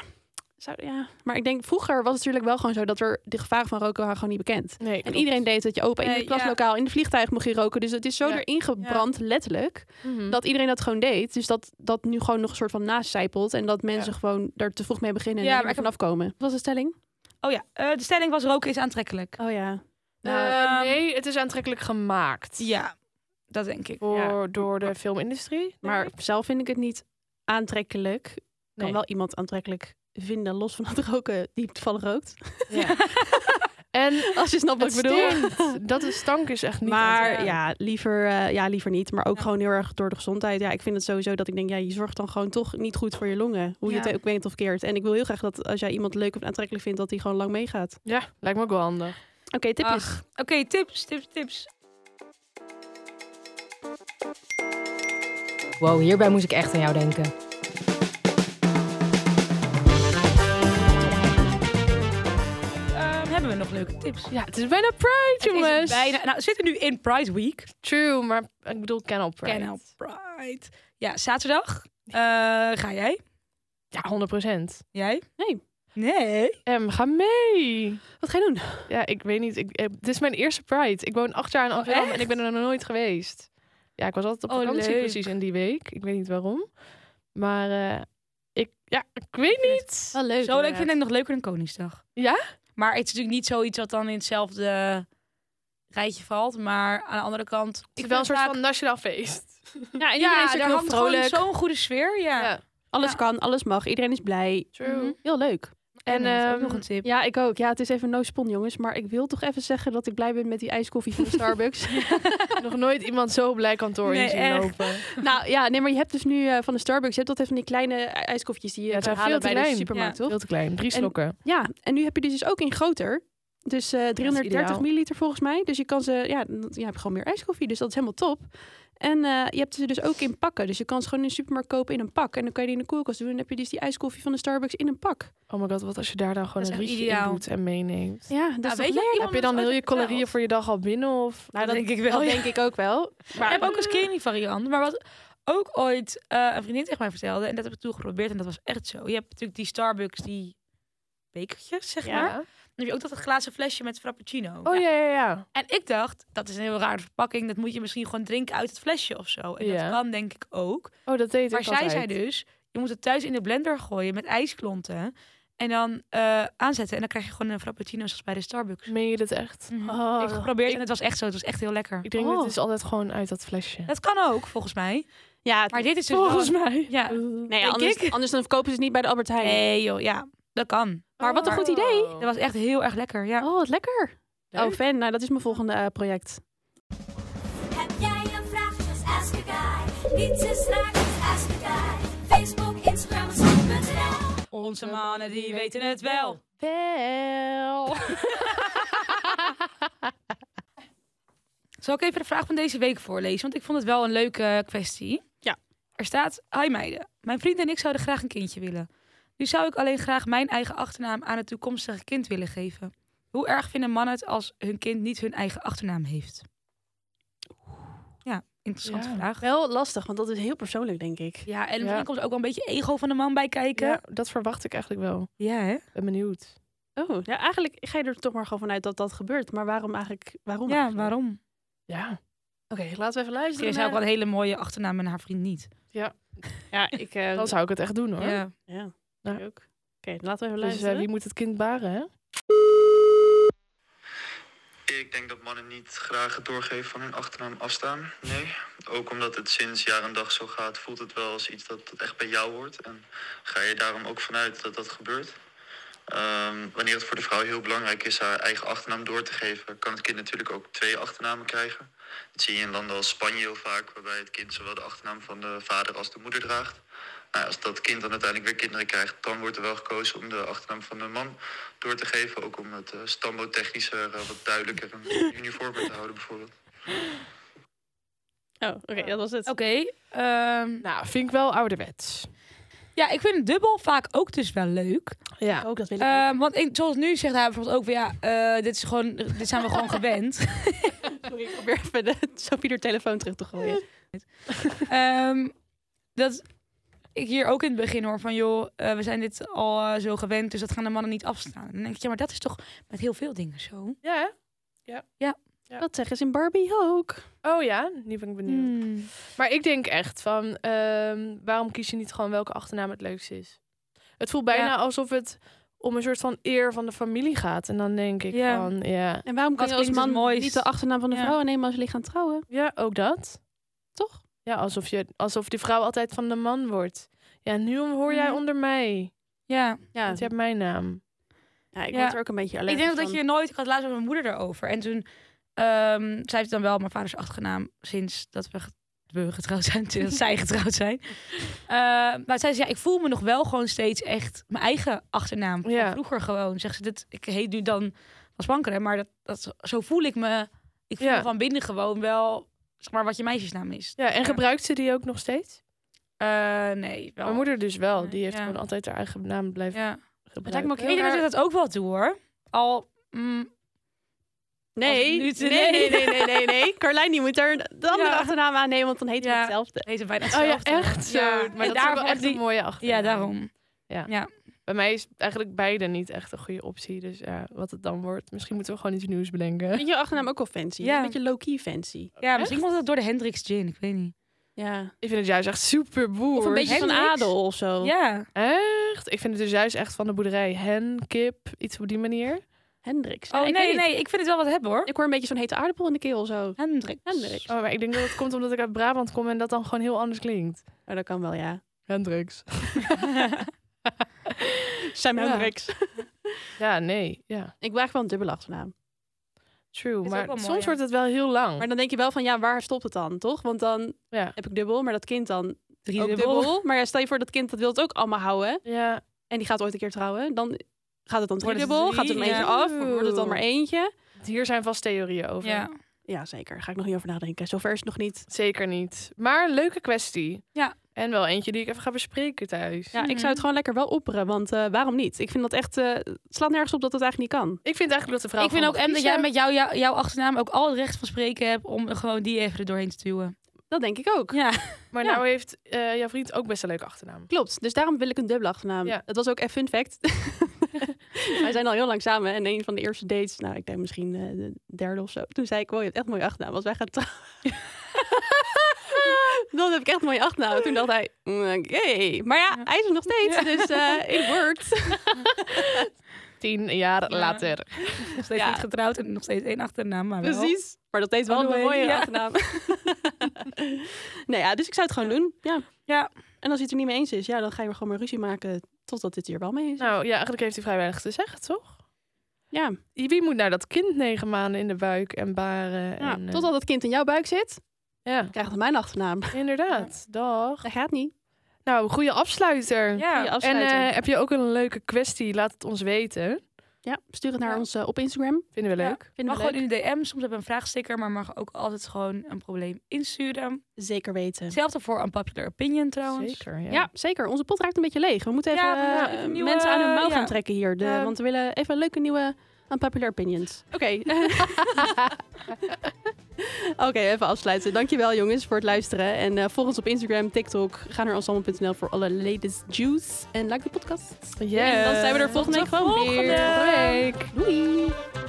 Speaker 2: Zou, ja. Maar ik denk, vroeger was het natuurlijk wel gewoon zo dat er de gevaren van roken waren gewoon niet bekend.
Speaker 1: Nee,
Speaker 2: En
Speaker 1: klopt.
Speaker 2: iedereen deed dat je open in
Speaker 4: Nee,
Speaker 2: het klaslokaal, in het vliegtuig mocht je roken. Dus het is zo
Speaker 1: Ja.
Speaker 2: erin gebrand, letterlijk,
Speaker 1: Mhm.
Speaker 2: dat iedereen dat gewoon deed. Dus dat dat nu gewoon nog een soort van naastcijpelt en dat mensen gewoon daar te vroeg mee beginnen en
Speaker 4: Ja,
Speaker 2: er
Speaker 4: maar
Speaker 2: niet meer vanaf komen. Wat was de stelling?
Speaker 4: Oh ja, eh, de stelling was roken is aantrekkelijk.
Speaker 2: Oh ja.
Speaker 1: Eh,
Speaker 4: Ehm,
Speaker 1: nee, het is aantrekkelijk gemaakt.
Speaker 4: Ja, dat denk ik.
Speaker 1: Oh. Voor, Door de filmindustrie.
Speaker 2: Maar zelf vind ik het niet aantrekkelijk. Ik kan
Speaker 1: Nee.
Speaker 2: wel iemand aantrekkelijk vinden, los van het roken die toevallig rookt.
Speaker 1: En
Speaker 2: Als je snapt wat
Speaker 1: het
Speaker 2: ik bedoel.
Speaker 1: stinkt. Dat is stank is echt niet.
Speaker 2: Maar
Speaker 1: aantrekkelijk.
Speaker 2: ja liever, eh, ja, liever niet. Maar ook
Speaker 4: Ja.
Speaker 2: gewoon heel erg door de gezondheid. Ja, ik vind het sowieso dat ik denk, ja, je zorgt dan gewoon toch niet goed voor je longen. Hoe je
Speaker 4: Ja.
Speaker 2: het ook bent of keert. En ik wil heel graag dat als jij iemand leuk of aantrekkelijk vindt, dat die gewoon lang meegaat.
Speaker 1: Ja, lijkt me ook wel handig.
Speaker 2: Oké, tipjes.
Speaker 4: Ach, Oké, tips, tips, tips.
Speaker 5: Wow, hierbij moest ik echt aan jou denken.
Speaker 4: Ehm, hebben we nog leuke tips?
Speaker 1: Ja, het is bijna Pride,
Speaker 4: Het is
Speaker 1: jongens.
Speaker 4: bijna, nou, we zitten nu in Pride Week.
Speaker 1: True, maar ik bedoel, can op Pride.
Speaker 4: Canal Pride. Ja, zaterdag. Eh, ga jij?
Speaker 1: Ja, 100 procent.
Speaker 4: Jij?
Speaker 2: Nee.
Speaker 4: Nee.
Speaker 1: Em, ga mee.
Speaker 2: Wat ga je doen?
Speaker 1: Ja, ik weet niet. Ik, eh, dit is mijn eerste Pride. Ik woon acht jaar in Amsterdam en ik ben er nog nooit geweest. Ja, ik was altijd op
Speaker 4: Oh,
Speaker 1: vakantie
Speaker 4: leuk.
Speaker 1: precies in die week. Ik weet niet waarom. Maar eh, ik, ja, ik weet niet.
Speaker 2: Wel leuk.
Speaker 4: Zo leuk vind ik het nog leuker dan Koningsdag.
Speaker 1: Ja?
Speaker 4: Maar het is natuurlijk niet zoiets wat dan in hetzelfde rijtje valt. Maar aan de andere kant... Ik
Speaker 1: Ik
Speaker 4: vind
Speaker 1: wel een
Speaker 4: het
Speaker 1: soort
Speaker 4: vaak-
Speaker 1: van nationaal feest.
Speaker 2: Ja, en iedereen is ook
Speaker 4: daar
Speaker 2: heel
Speaker 4: hangt gewoon
Speaker 2: vrolijk.
Speaker 4: zo'n goede sfeer, ja.
Speaker 1: Ja,
Speaker 2: Alles
Speaker 4: Ja.
Speaker 2: kan, alles mag. Iedereen is blij.
Speaker 1: true.
Speaker 4: Mhm.
Speaker 2: Heel leuk.
Speaker 1: Mm-hmm. En,
Speaker 4: En, dat is ook
Speaker 1: ehm,
Speaker 4: nog een tip.
Speaker 2: Ja, ik ook. Ja, het is even no spon, jongens. Maar ik wil toch even zeggen dat ik blij ben met die ijskoffie van Starbucks.
Speaker 1: nog nooit iemand zo blij kantoor
Speaker 4: Nee,
Speaker 1: in zien
Speaker 4: echt.
Speaker 1: lopen.
Speaker 2: nou ja, nee, maar je hebt dus nu eh, van de Starbucks, je hebt altijd van die kleine eh, ijskoffietjes die je
Speaker 1: Ja, het
Speaker 2: kan
Speaker 1: zijn
Speaker 2: halen
Speaker 1: veel te
Speaker 2: bij de
Speaker 1: klein.
Speaker 2: supermarkt, toch?
Speaker 1: Veel te klein. Drie
Speaker 2: En-
Speaker 1: slokken.
Speaker 2: Ja, en nu heb je die dus ook in groter. Dus eh,
Speaker 1: ideaal.
Speaker 2: 330 milliliter volgens mij. Dus je kan ze, ja, dan- je hebt gewoon meer ijskoffie. Dus dat is helemaal top. En eh, je hebt ze dus ook in pakken. Dus je kan ze gewoon in de supermarkt kopen in een pak. En dan kan je die in de koelkast doen. En dan heb je dus die ijskoffie van de Starbucks in een pak.
Speaker 1: Oh my god, wat als je daar dan gewoon
Speaker 4: Dat is
Speaker 1: een
Speaker 4: echt
Speaker 1: rietje
Speaker 4: ideaal.
Speaker 1: in doet en meeneemt.
Speaker 2: Ja, dat
Speaker 4: weet
Speaker 2: is toch
Speaker 4: je,
Speaker 2: lekker?
Speaker 4: iemand-
Speaker 1: Heb je dan
Speaker 4: ons
Speaker 1: heel
Speaker 4: ooit
Speaker 1: je calorieën
Speaker 4: verteld?
Speaker 1: voor je dag al binnen? Of... Oh
Speaker 2: Nou,
Speaker 4: dat
Speaker 2: dat,
Speaker 4: denk ik wel.
Speaker 2: dat
Speaker 4: ja.
Speaker 2: denk ik ook wel.
Speaker 4: Maar ik heb ook een skinny variant. Maar wat ook ooit eh, een vriendin tegen mij vertelde, en dat heb ik toen geprobeerd, en dat was echt zo. Je hebt natuurlijk die Starbucks, die bekertjes, zeg maar. Dan heb je ook dat glazen flesje met frappuccino.
Speaker 1: Oh ja, ja, ja.
Speaker 4: En ik dacht, dat is een heel rare verpakking, dat moet je misschien gewoon drinken uit het flesje of zo. En
Speaker 1: Ja.
Speaker 4: dat kan denk ik ook.
Speaker 1: Oh, dat deed
Speaker 4: Maar
Speaker 1: ik
Speaker 4: zij
Speaker 1: altijd.
Speaker 4: zei dus, je moet het thuis in de blender gooien met ijsklonten. En dan eh, aanzetten. En dan krijg je gewoon een frappuccino zoals bij de Starbucks.
Speaker 1: Meen je dat echt?
Speaker 4: Mhm.
Speaker 1: Oh.
Speaker 4: ik heb geprobeerd
Speaker 1: Ik-
Speaker 4: en het was echt zo. Het was echt heel lekker.
Speaker 1: Ik denk,
Speaker 2: Oh.
Speaker 1: dit is altijd gewoon uit dat flesje.
Speaker 4: Dat kan ook, volgens mij.
Speaker 2: Ja,
Speaker 4: Maar dit is dus
Speaker 1: Volgens
Speaker 4: wel...
Speaker 1: mij.
Speaker 4: Ja.
Speaker 2: nee,
Speaker 4: denk
Speaker 2: anders,
Speaker 4: ik.
Speaker 2: anders dan verkopen ze het niet bij de Albert Heijn.
Speaker 4: Nee joh, ja. Dat kan.
Speaker 1: Oh,
Speaker 2: Maar wat een goed idee.
Speaker 4: Dat was echt heel erg lekker, ja.
Speaker 2: Oh, wat lekker.
Speaker 1: Leuk.
Speaker 2: Oh, fan. Nou, dat is mijn volgende eh, project.
Speaker 6: Heb jij een vraag? Just ask a guy. Niets is raar, just ask a guy. Facebook, Instagram, Snap.nl.
Speaker 4: Onze mannen, die weten het wel.
Speaker 1: Wel.
Speaker 4: Zal ik even de vraag van deze week voorlezen? Want ik vond het wel een leuke kwestie.
Speaker 2: Ja.
Speaker 4: Er staat, hi meiden. Mijn vriend en ik zouden graag een kindje willen. Nu zou ik alleen graag mijn eigen achternaam aan het toekomstige kind willen geven. Hoe erg vinden mannen het als hun kind niet hun eigen achternaam heeft? Ja, interessante
Speaker 1: Ja.
Speaker 4: vraag.
Speaker 2: Wel lastig, want dat is heel persoonlijk, denk ik.
Speaker 4: Ja, en
Speaker 1: Ja.
Speaker 4: misschien komt er ook wel een beetje ego van de man bij kijken.
Speaker 1: Ja, dat verwacht ik eigenlijk wel.
Speaker 4: Ja, hè?
Speaker 1: Ben benieuwd.
Speaker 2: Oh, ja, eigenlijk ga je er toch maar gewoon vanuit dat dat gebeurt. Maar waarom eigenlijk? Waarom?
Speaker 4: Ja,
Speaker 2: eigenlijk?
Speaker 4: waarom?
Speaker 1: Ja.
Speaker 2: Oké, laten we even
Speaker 4: Misschien
Speaker 2: luisteren.
Speaker 4: is hij ook wel een hele mooie achternaam en haar vriend niet.
Speaker 2: Ja, ik. eh,
Speaker 1: Dan zou ik het echt doen, hoor.
Speaker 4: Ja.
Speaker 2: Ja,
Speaker 1: Ja.
Speaker 2: ik ook. Oké, laten we even
Speaker 1: Dus eh,
Speaker 2: luisteren.
Speaker 1: wie moet het kind baren, hè?
Speaker 7: Ik denk dat mannen niet graag het doorgeven van hun achternaam afstaan. Nee. Ook omdat het sinds jaar en dag zo gaat, voelt het wel als iets dat, dat echt bij jou hoort. En ga je daarom ook vanuit dat dat gebeurt. Ehm, wanneer het voor de vrouw heel belangrijk is haar eigen achternaam door te geven, kan het kind natuurlijk ook twee achternamen krijgen. Dat zie je in landen als Spanje heel vaak, waarbij het kind zowel de achternaam van de vader als de moeder draagt. Nou, als dat kind dan uiteindelijk weer kinderen krijgt, dan wordt er wel gekozen om de achternaam van de man door te geven. Ook om het eh stambotechnischer eh, wat duidelijker en uniformer te houden bijvoorbeeld.
Speaker 2: Oh, oké, dat was het.
Speaker 4: Oké, ehm,
Speaker 1: Nou, vind ik wel ouderwets.
Speaker 4: ja, ik vind het dubbel vaak ook dus wel leuk.
Speaker 1: Ja.
Speaker 2: Ook Oh, dat wil ik. ook.
Speaker 4: Ehm, want in- zoals nu zegt hij bijvoorbeeld ook weer, ja, eh, dit, is gewoon, dit zijn we gewoon gewend.
Speaker 2: Sorry, ik probeer even de Sophie haar telefoon terug te gooien.
Speaker 4: Ehm, dat ik hier ook in het begin hoor van, joh, eh, we zijn dit al eh, zo gewend, dus dat gaan de mannen niet afstaan. En dan denk ik, ja, maar dat is toch met heel veel dingen zo.
Speaker 1: Ja, hè? Ja.
Speaker 2: Dat Eh, zeggen ze in Barbie ook.
Speaker 1: Oh ja, nu ben ik benieuwd.
Speaker 4: Hmm.
Speaker 1: Maar ik denk echt van, ehm, waarom kies je niet gewoon welke achternaam het leukst is? Het voelt bijna
Speaker 4: Ja.
Speaker 1: alsof het om een soort van eer van de familie gaat. En dan denk ik
Speaker 4: Ja.
Speaker 1: van, ja,
Speaker 2: En waarom kan
Speaker 4: Wat
Speaker 2: je als
Speaker 4: klinkt het
Speaker 2: man
Speaker 4: mooist?
Speaker 2: niet de achternaam van de
Speaker 4: Ja.
Speaker 2: vrouw aannemen als jullie gaan trouwen?
Speaker 1: ja ook dat.
Speaker 2: Toch?
Speaker 1: Ja, alsof, je, alsof die vrouw altijd van de man wordt. Ja, nu hoor jij
Speaker 4: Mhm.
Speaker 1: onder mij.
Speaker 4: Ja.
Speaker 2: Ja,
Speaker 1: Want je hebt mijn naam.
Speaker 2: ja, ik
Speaker 4: Ja.
Speaker 2: word er ook een beetje allergisch
Speaker 4: ik denk ook dat
Speaker 2: van.
Speaker 4: je nooit... Ik had laatst met mijn moeder erover. En toen... ehm zij heeft dan wel mijn vaders achtergenaam sinds dat we, ge- we getrouwd zijn. Sinds dat zij getrouwd zijn. Eh, maar zij zei, ja, ik voel me nog wel gewoon steeds echt mijn eigen achternaam. van
Speaker 1: Ja.
Speaker 4: Vroeger gewoon. Zegt ze, dit, ik heet nu dan Van Spankeren. Maar dat, dat, zo voel ik me... Ik voel
Speaker 1: Ja.
Speaker 4: me van binnen gewoon wel... Zeg maar wat je meisjesnaam is.
Speaker 1: Ja, en gebruikt ze die ook nog steeds?
Speaker 4: Eh, nee, wel.
Speaker 1: Mijn moeder dus wel.
Speaker 4: Nee,
Speaker 1: Die heeft
Speaker 4: ja.
Speaker 1: gewoon altijd haar eigen naam blijven
Speaker 4: Ja. Het lijkt
Speaker 1: gebruiken.
Speaker 4: me ook heel raar. Ik denk dat ik dat ook wel doe, hoor. Al... mm,
Speaker 2: Nee,
Speaker 4: Als nu te-
Speaker 2: nee, nee, nee, nee, nee, nee. Carlijn, die moet er de andere
Speaker 4: Ja.
Speaker 2: achternaam aannemen, want dan heet hij
Speaker 4: Ja.
Speaker 2: hetzelfde.
Speaker 4: heet het bijna
Speaker 1: Oh ja,
Speaker 4: hetzelfde.
Speaker 1: echt zo.
Speaker 4: Ja,
Speaker 1: maar
Speaker 4: en
Speaker 1: dat is ook
Speaker 4: daarom
Speaker 1: wel echt
Speaker 4: die-
Speaker 1: een mooie achternaam.
Speaker 4: Ja, daarom.
Speaker 1: Bij mij is eigenlijk beide niet echt een goede optie. Dus ja, wat het dan wordt. Misschien moeten we gewoon iets nieuws bedenken.
Speaker 2: Vind je achternaam ook wel fancy?
Speaker 4: Ja.
Speaker 2: Een beetje low-key fancy.
Speaker 4: Ja, misschien komt dat door de Hendrix Gin. Ik weet niet.
Speaker 2: Ja.
Speaker 1: Ik vind het juist echt super boer.
Speaker 2: Of een beetje van
Speaker 4: Hendrix?
Speaker 2: adel of zo.
Speaker 4: Oh. Ja.
Speaker 1: Echt? Ik vind het dus juist echt van de boerderij. Hen, kip, iets op die manier.
Speaker 2: Hendrix. Ja,
Speaker 4: Oh
Speaker 2: ik weet
Speaker 4: nee,
Speaker 2: niet.
Speaker 4: nee. Ik vind het wel wat hebben, hoor.
Speaker 2: Ik hoor een beetje zo'n hete aardappel in de keel zo.
Speaker 4: Hendrix.
Speaker 2: Hendrix.
Speaker 1: Oh, maar ik denk dat het komt omdat ik uit Brabant kom en dat dan gewoon heel anders klinkt.
Speaker 2: Oh, dat kan wel, ja.
Speaker 1: Hendricks.
Speaker 2: Sam Hendrix.
Speaker 1: Ja, nee. Ja,
Speaker 2: Ik vraag wel een dubbele achternaam.
Speaker 1: true.
Speaker 4: ook
Speaker 1: Maar
Speaker 4: wel mooi,
Speaker 1: soms
Speaker 4: ja.
Speaker 1: wordt het wel heel lang.
Speaker 2: Maar dan denk je wel van, ja, waar stopt het dan, toch? Want dan
Speaker 1: Ja.
Speaker 2: heb ik dubbel, maar dat kind dan
Speaker 4: Drie
Speaker 2: ook dubbel. Maar ja, stel je voor, dat kind dat wil het ook allemaal houden.
Speaker 1: Ja,
Speaker 2: En die gaat ooit een keer trouwen. Dan gaat het dan
Speaker 4: Wordt het
Speaker 2: driedubbel,
Speaker 4: drie,
Speaker 2: gaat er dan
Speaker 4: ja.
Speaker 2: eentje af, wordt het dan maar eentje.
Speaker 1: hier zijn vast theorieën over.
Speaker 4: Ja.
Speaker 2: Ja, zeker. Ga ik nog niet over nadenken. Zover is het nog niet.
Speaker 1: Zeker niet. Maar leuke kwestie.
Speaker 4: Ja.
Speaker 1: En wel eentje die ik even ga bespreken thuis.
Speaker 2: Ja, ik
Speaker 4: Mhm.
Speaker 2: zou het gewoon lekker wel opperen, want eh, waarom niet? Ik vind dat echt, eh, het slaat nergens op dat het eigenlijk niet kan.
Speaker 1: Ik vind eigenlijk dat de vrouw
Speaker 4: Ik vind
Speaker 1: gewoon
Speaker 4: ook en
Speaker 1: mag
Speaker 4: dat jij
Speaker 1: kiezen.
Speaker 4: met jou, jou- jouw achternaam ook al het recht van spreken hebt om er gewoon die even er doorheen te duwen.
Speaker 2: Dat denk ik ook.
Speaker 4: Ja.
Speaker 1: Maar
Speaker 2: Ja.
Speaker 1: nou heeft eh, jouw vriend ook best een leuke achternaam.
Speaker 2: Klopt, dus daarom wil ik een dubbele achternaam.
Speaker 1: Ja.
Speaker 2: Dat was ook even fun fact. Wij zijn al heel lang samen en een van de eerste dates, nou ik denk misschien eh, de derde of zo. Toen zei ik, wow, je hebt echt een mooie achternaam, want wij gaan trouwen. Dan heb ik echt een mooie achternaam. Toen dacht hij, mm, oké. Maar ja, hij is er nog steeds, dus eh it worked.
Speaker 1: Tien jaar
Speaker 4: Ja.
Speaker 1: later.
Speaker 4: Nog steeds
Speaker 2: Ja.
Speaker 4: niet getrouwd en nog steeds één achternaam, maar wel.
Speaker 2: Precies. Maar dat steeds wel
Speaker 4: All the
Speaker 2: een
Speaker 4: way,
Speaker 2: mooie
Speaker 4: ja.
Speaker 2: achternaam. nee, ja, dus ik zou het gewoon doen. Ja.
Speaker 4: Ja.
Speaker 2: En als hij het er niet mee eens is, ja, dan ga je er gewoon maar ruzie maken totdat dit hier wel mee is.
Speaker 1: Nou ja, eigenlijk heeft hij vrij weinig te zeggen, toch?
Speaker 2: Ja,
Speaker 1: Wie moet nou dat kind negen maanden in de buik en baren?
Speaker 2: ja.
Speaker 1: en, eh,
Speaker 2: totdat het kind in jouw buik zit,
Speaker 1: ja
Speaker 2: krijgt het mijn achternaam.
Speaker 1: inderdaad. Dag.
Speaker 2: Dat gaat niet.
Speaker 1: Nou, goede afsluiter.
Speaker 2: Je
Speaker 4: Ja.
Speaker 1: En
Speaker 2: afsluiter.
Speaker 1: eh, heb je ook een leuke kwestie? Laat het ons weten.
Speaker 2: ja, stuur het naar
Speaker 4: ja.
Speaker 2: ons eh, op Instagram.
Speaker 1: Vinden we
Speaker 4: Ja.
Speaker 1: leuk.
Speaker 2: Vinden
Speaker 4: Mag
Speaker 2: we
Speaker 4: gewoon
Speaker 2: leuk.
Speaker 4: in de DM. Soms hebben we een vraagsticker, maar mag ook altijd gewoon een probleem insturen.
Speaker 2: Zeker weten.
Speaker 4: Hetzelfde voor Unpopular Opinion trouwens.
Speaker 1: Zeker. Ja.
Speaker 2: Ja. zeker. Onze pot raakt een beetje leeg. We moeten even,
Speaker 4: Ja, we moeten
Speaker 2: eh,
Speaker 4: even nieuwe-
Speaker 2: mensen aan hun mouw
Speaker 4: ja. Ehm.
Speaker 2: gaan trekken hier. De,
Speaker 1: Ja.
Speaker 2: Want we willen even leuke nieuwe unpopular opinions. Oké. Oké, even afsluiten. Dankjewel jongens voor het luisteren. En eh volg ons op Instagram, TikTok. Ga naar ensemble.nl voor alle latest juice. En like de podcast.
Speaker 1: Yes.
Speaker 2: En dan zijn we er volgende week
Speaker 1: Tot de
Speaker 2: gewoon weer.
Speaker 1: volgende week.
Speaker 2: Doei!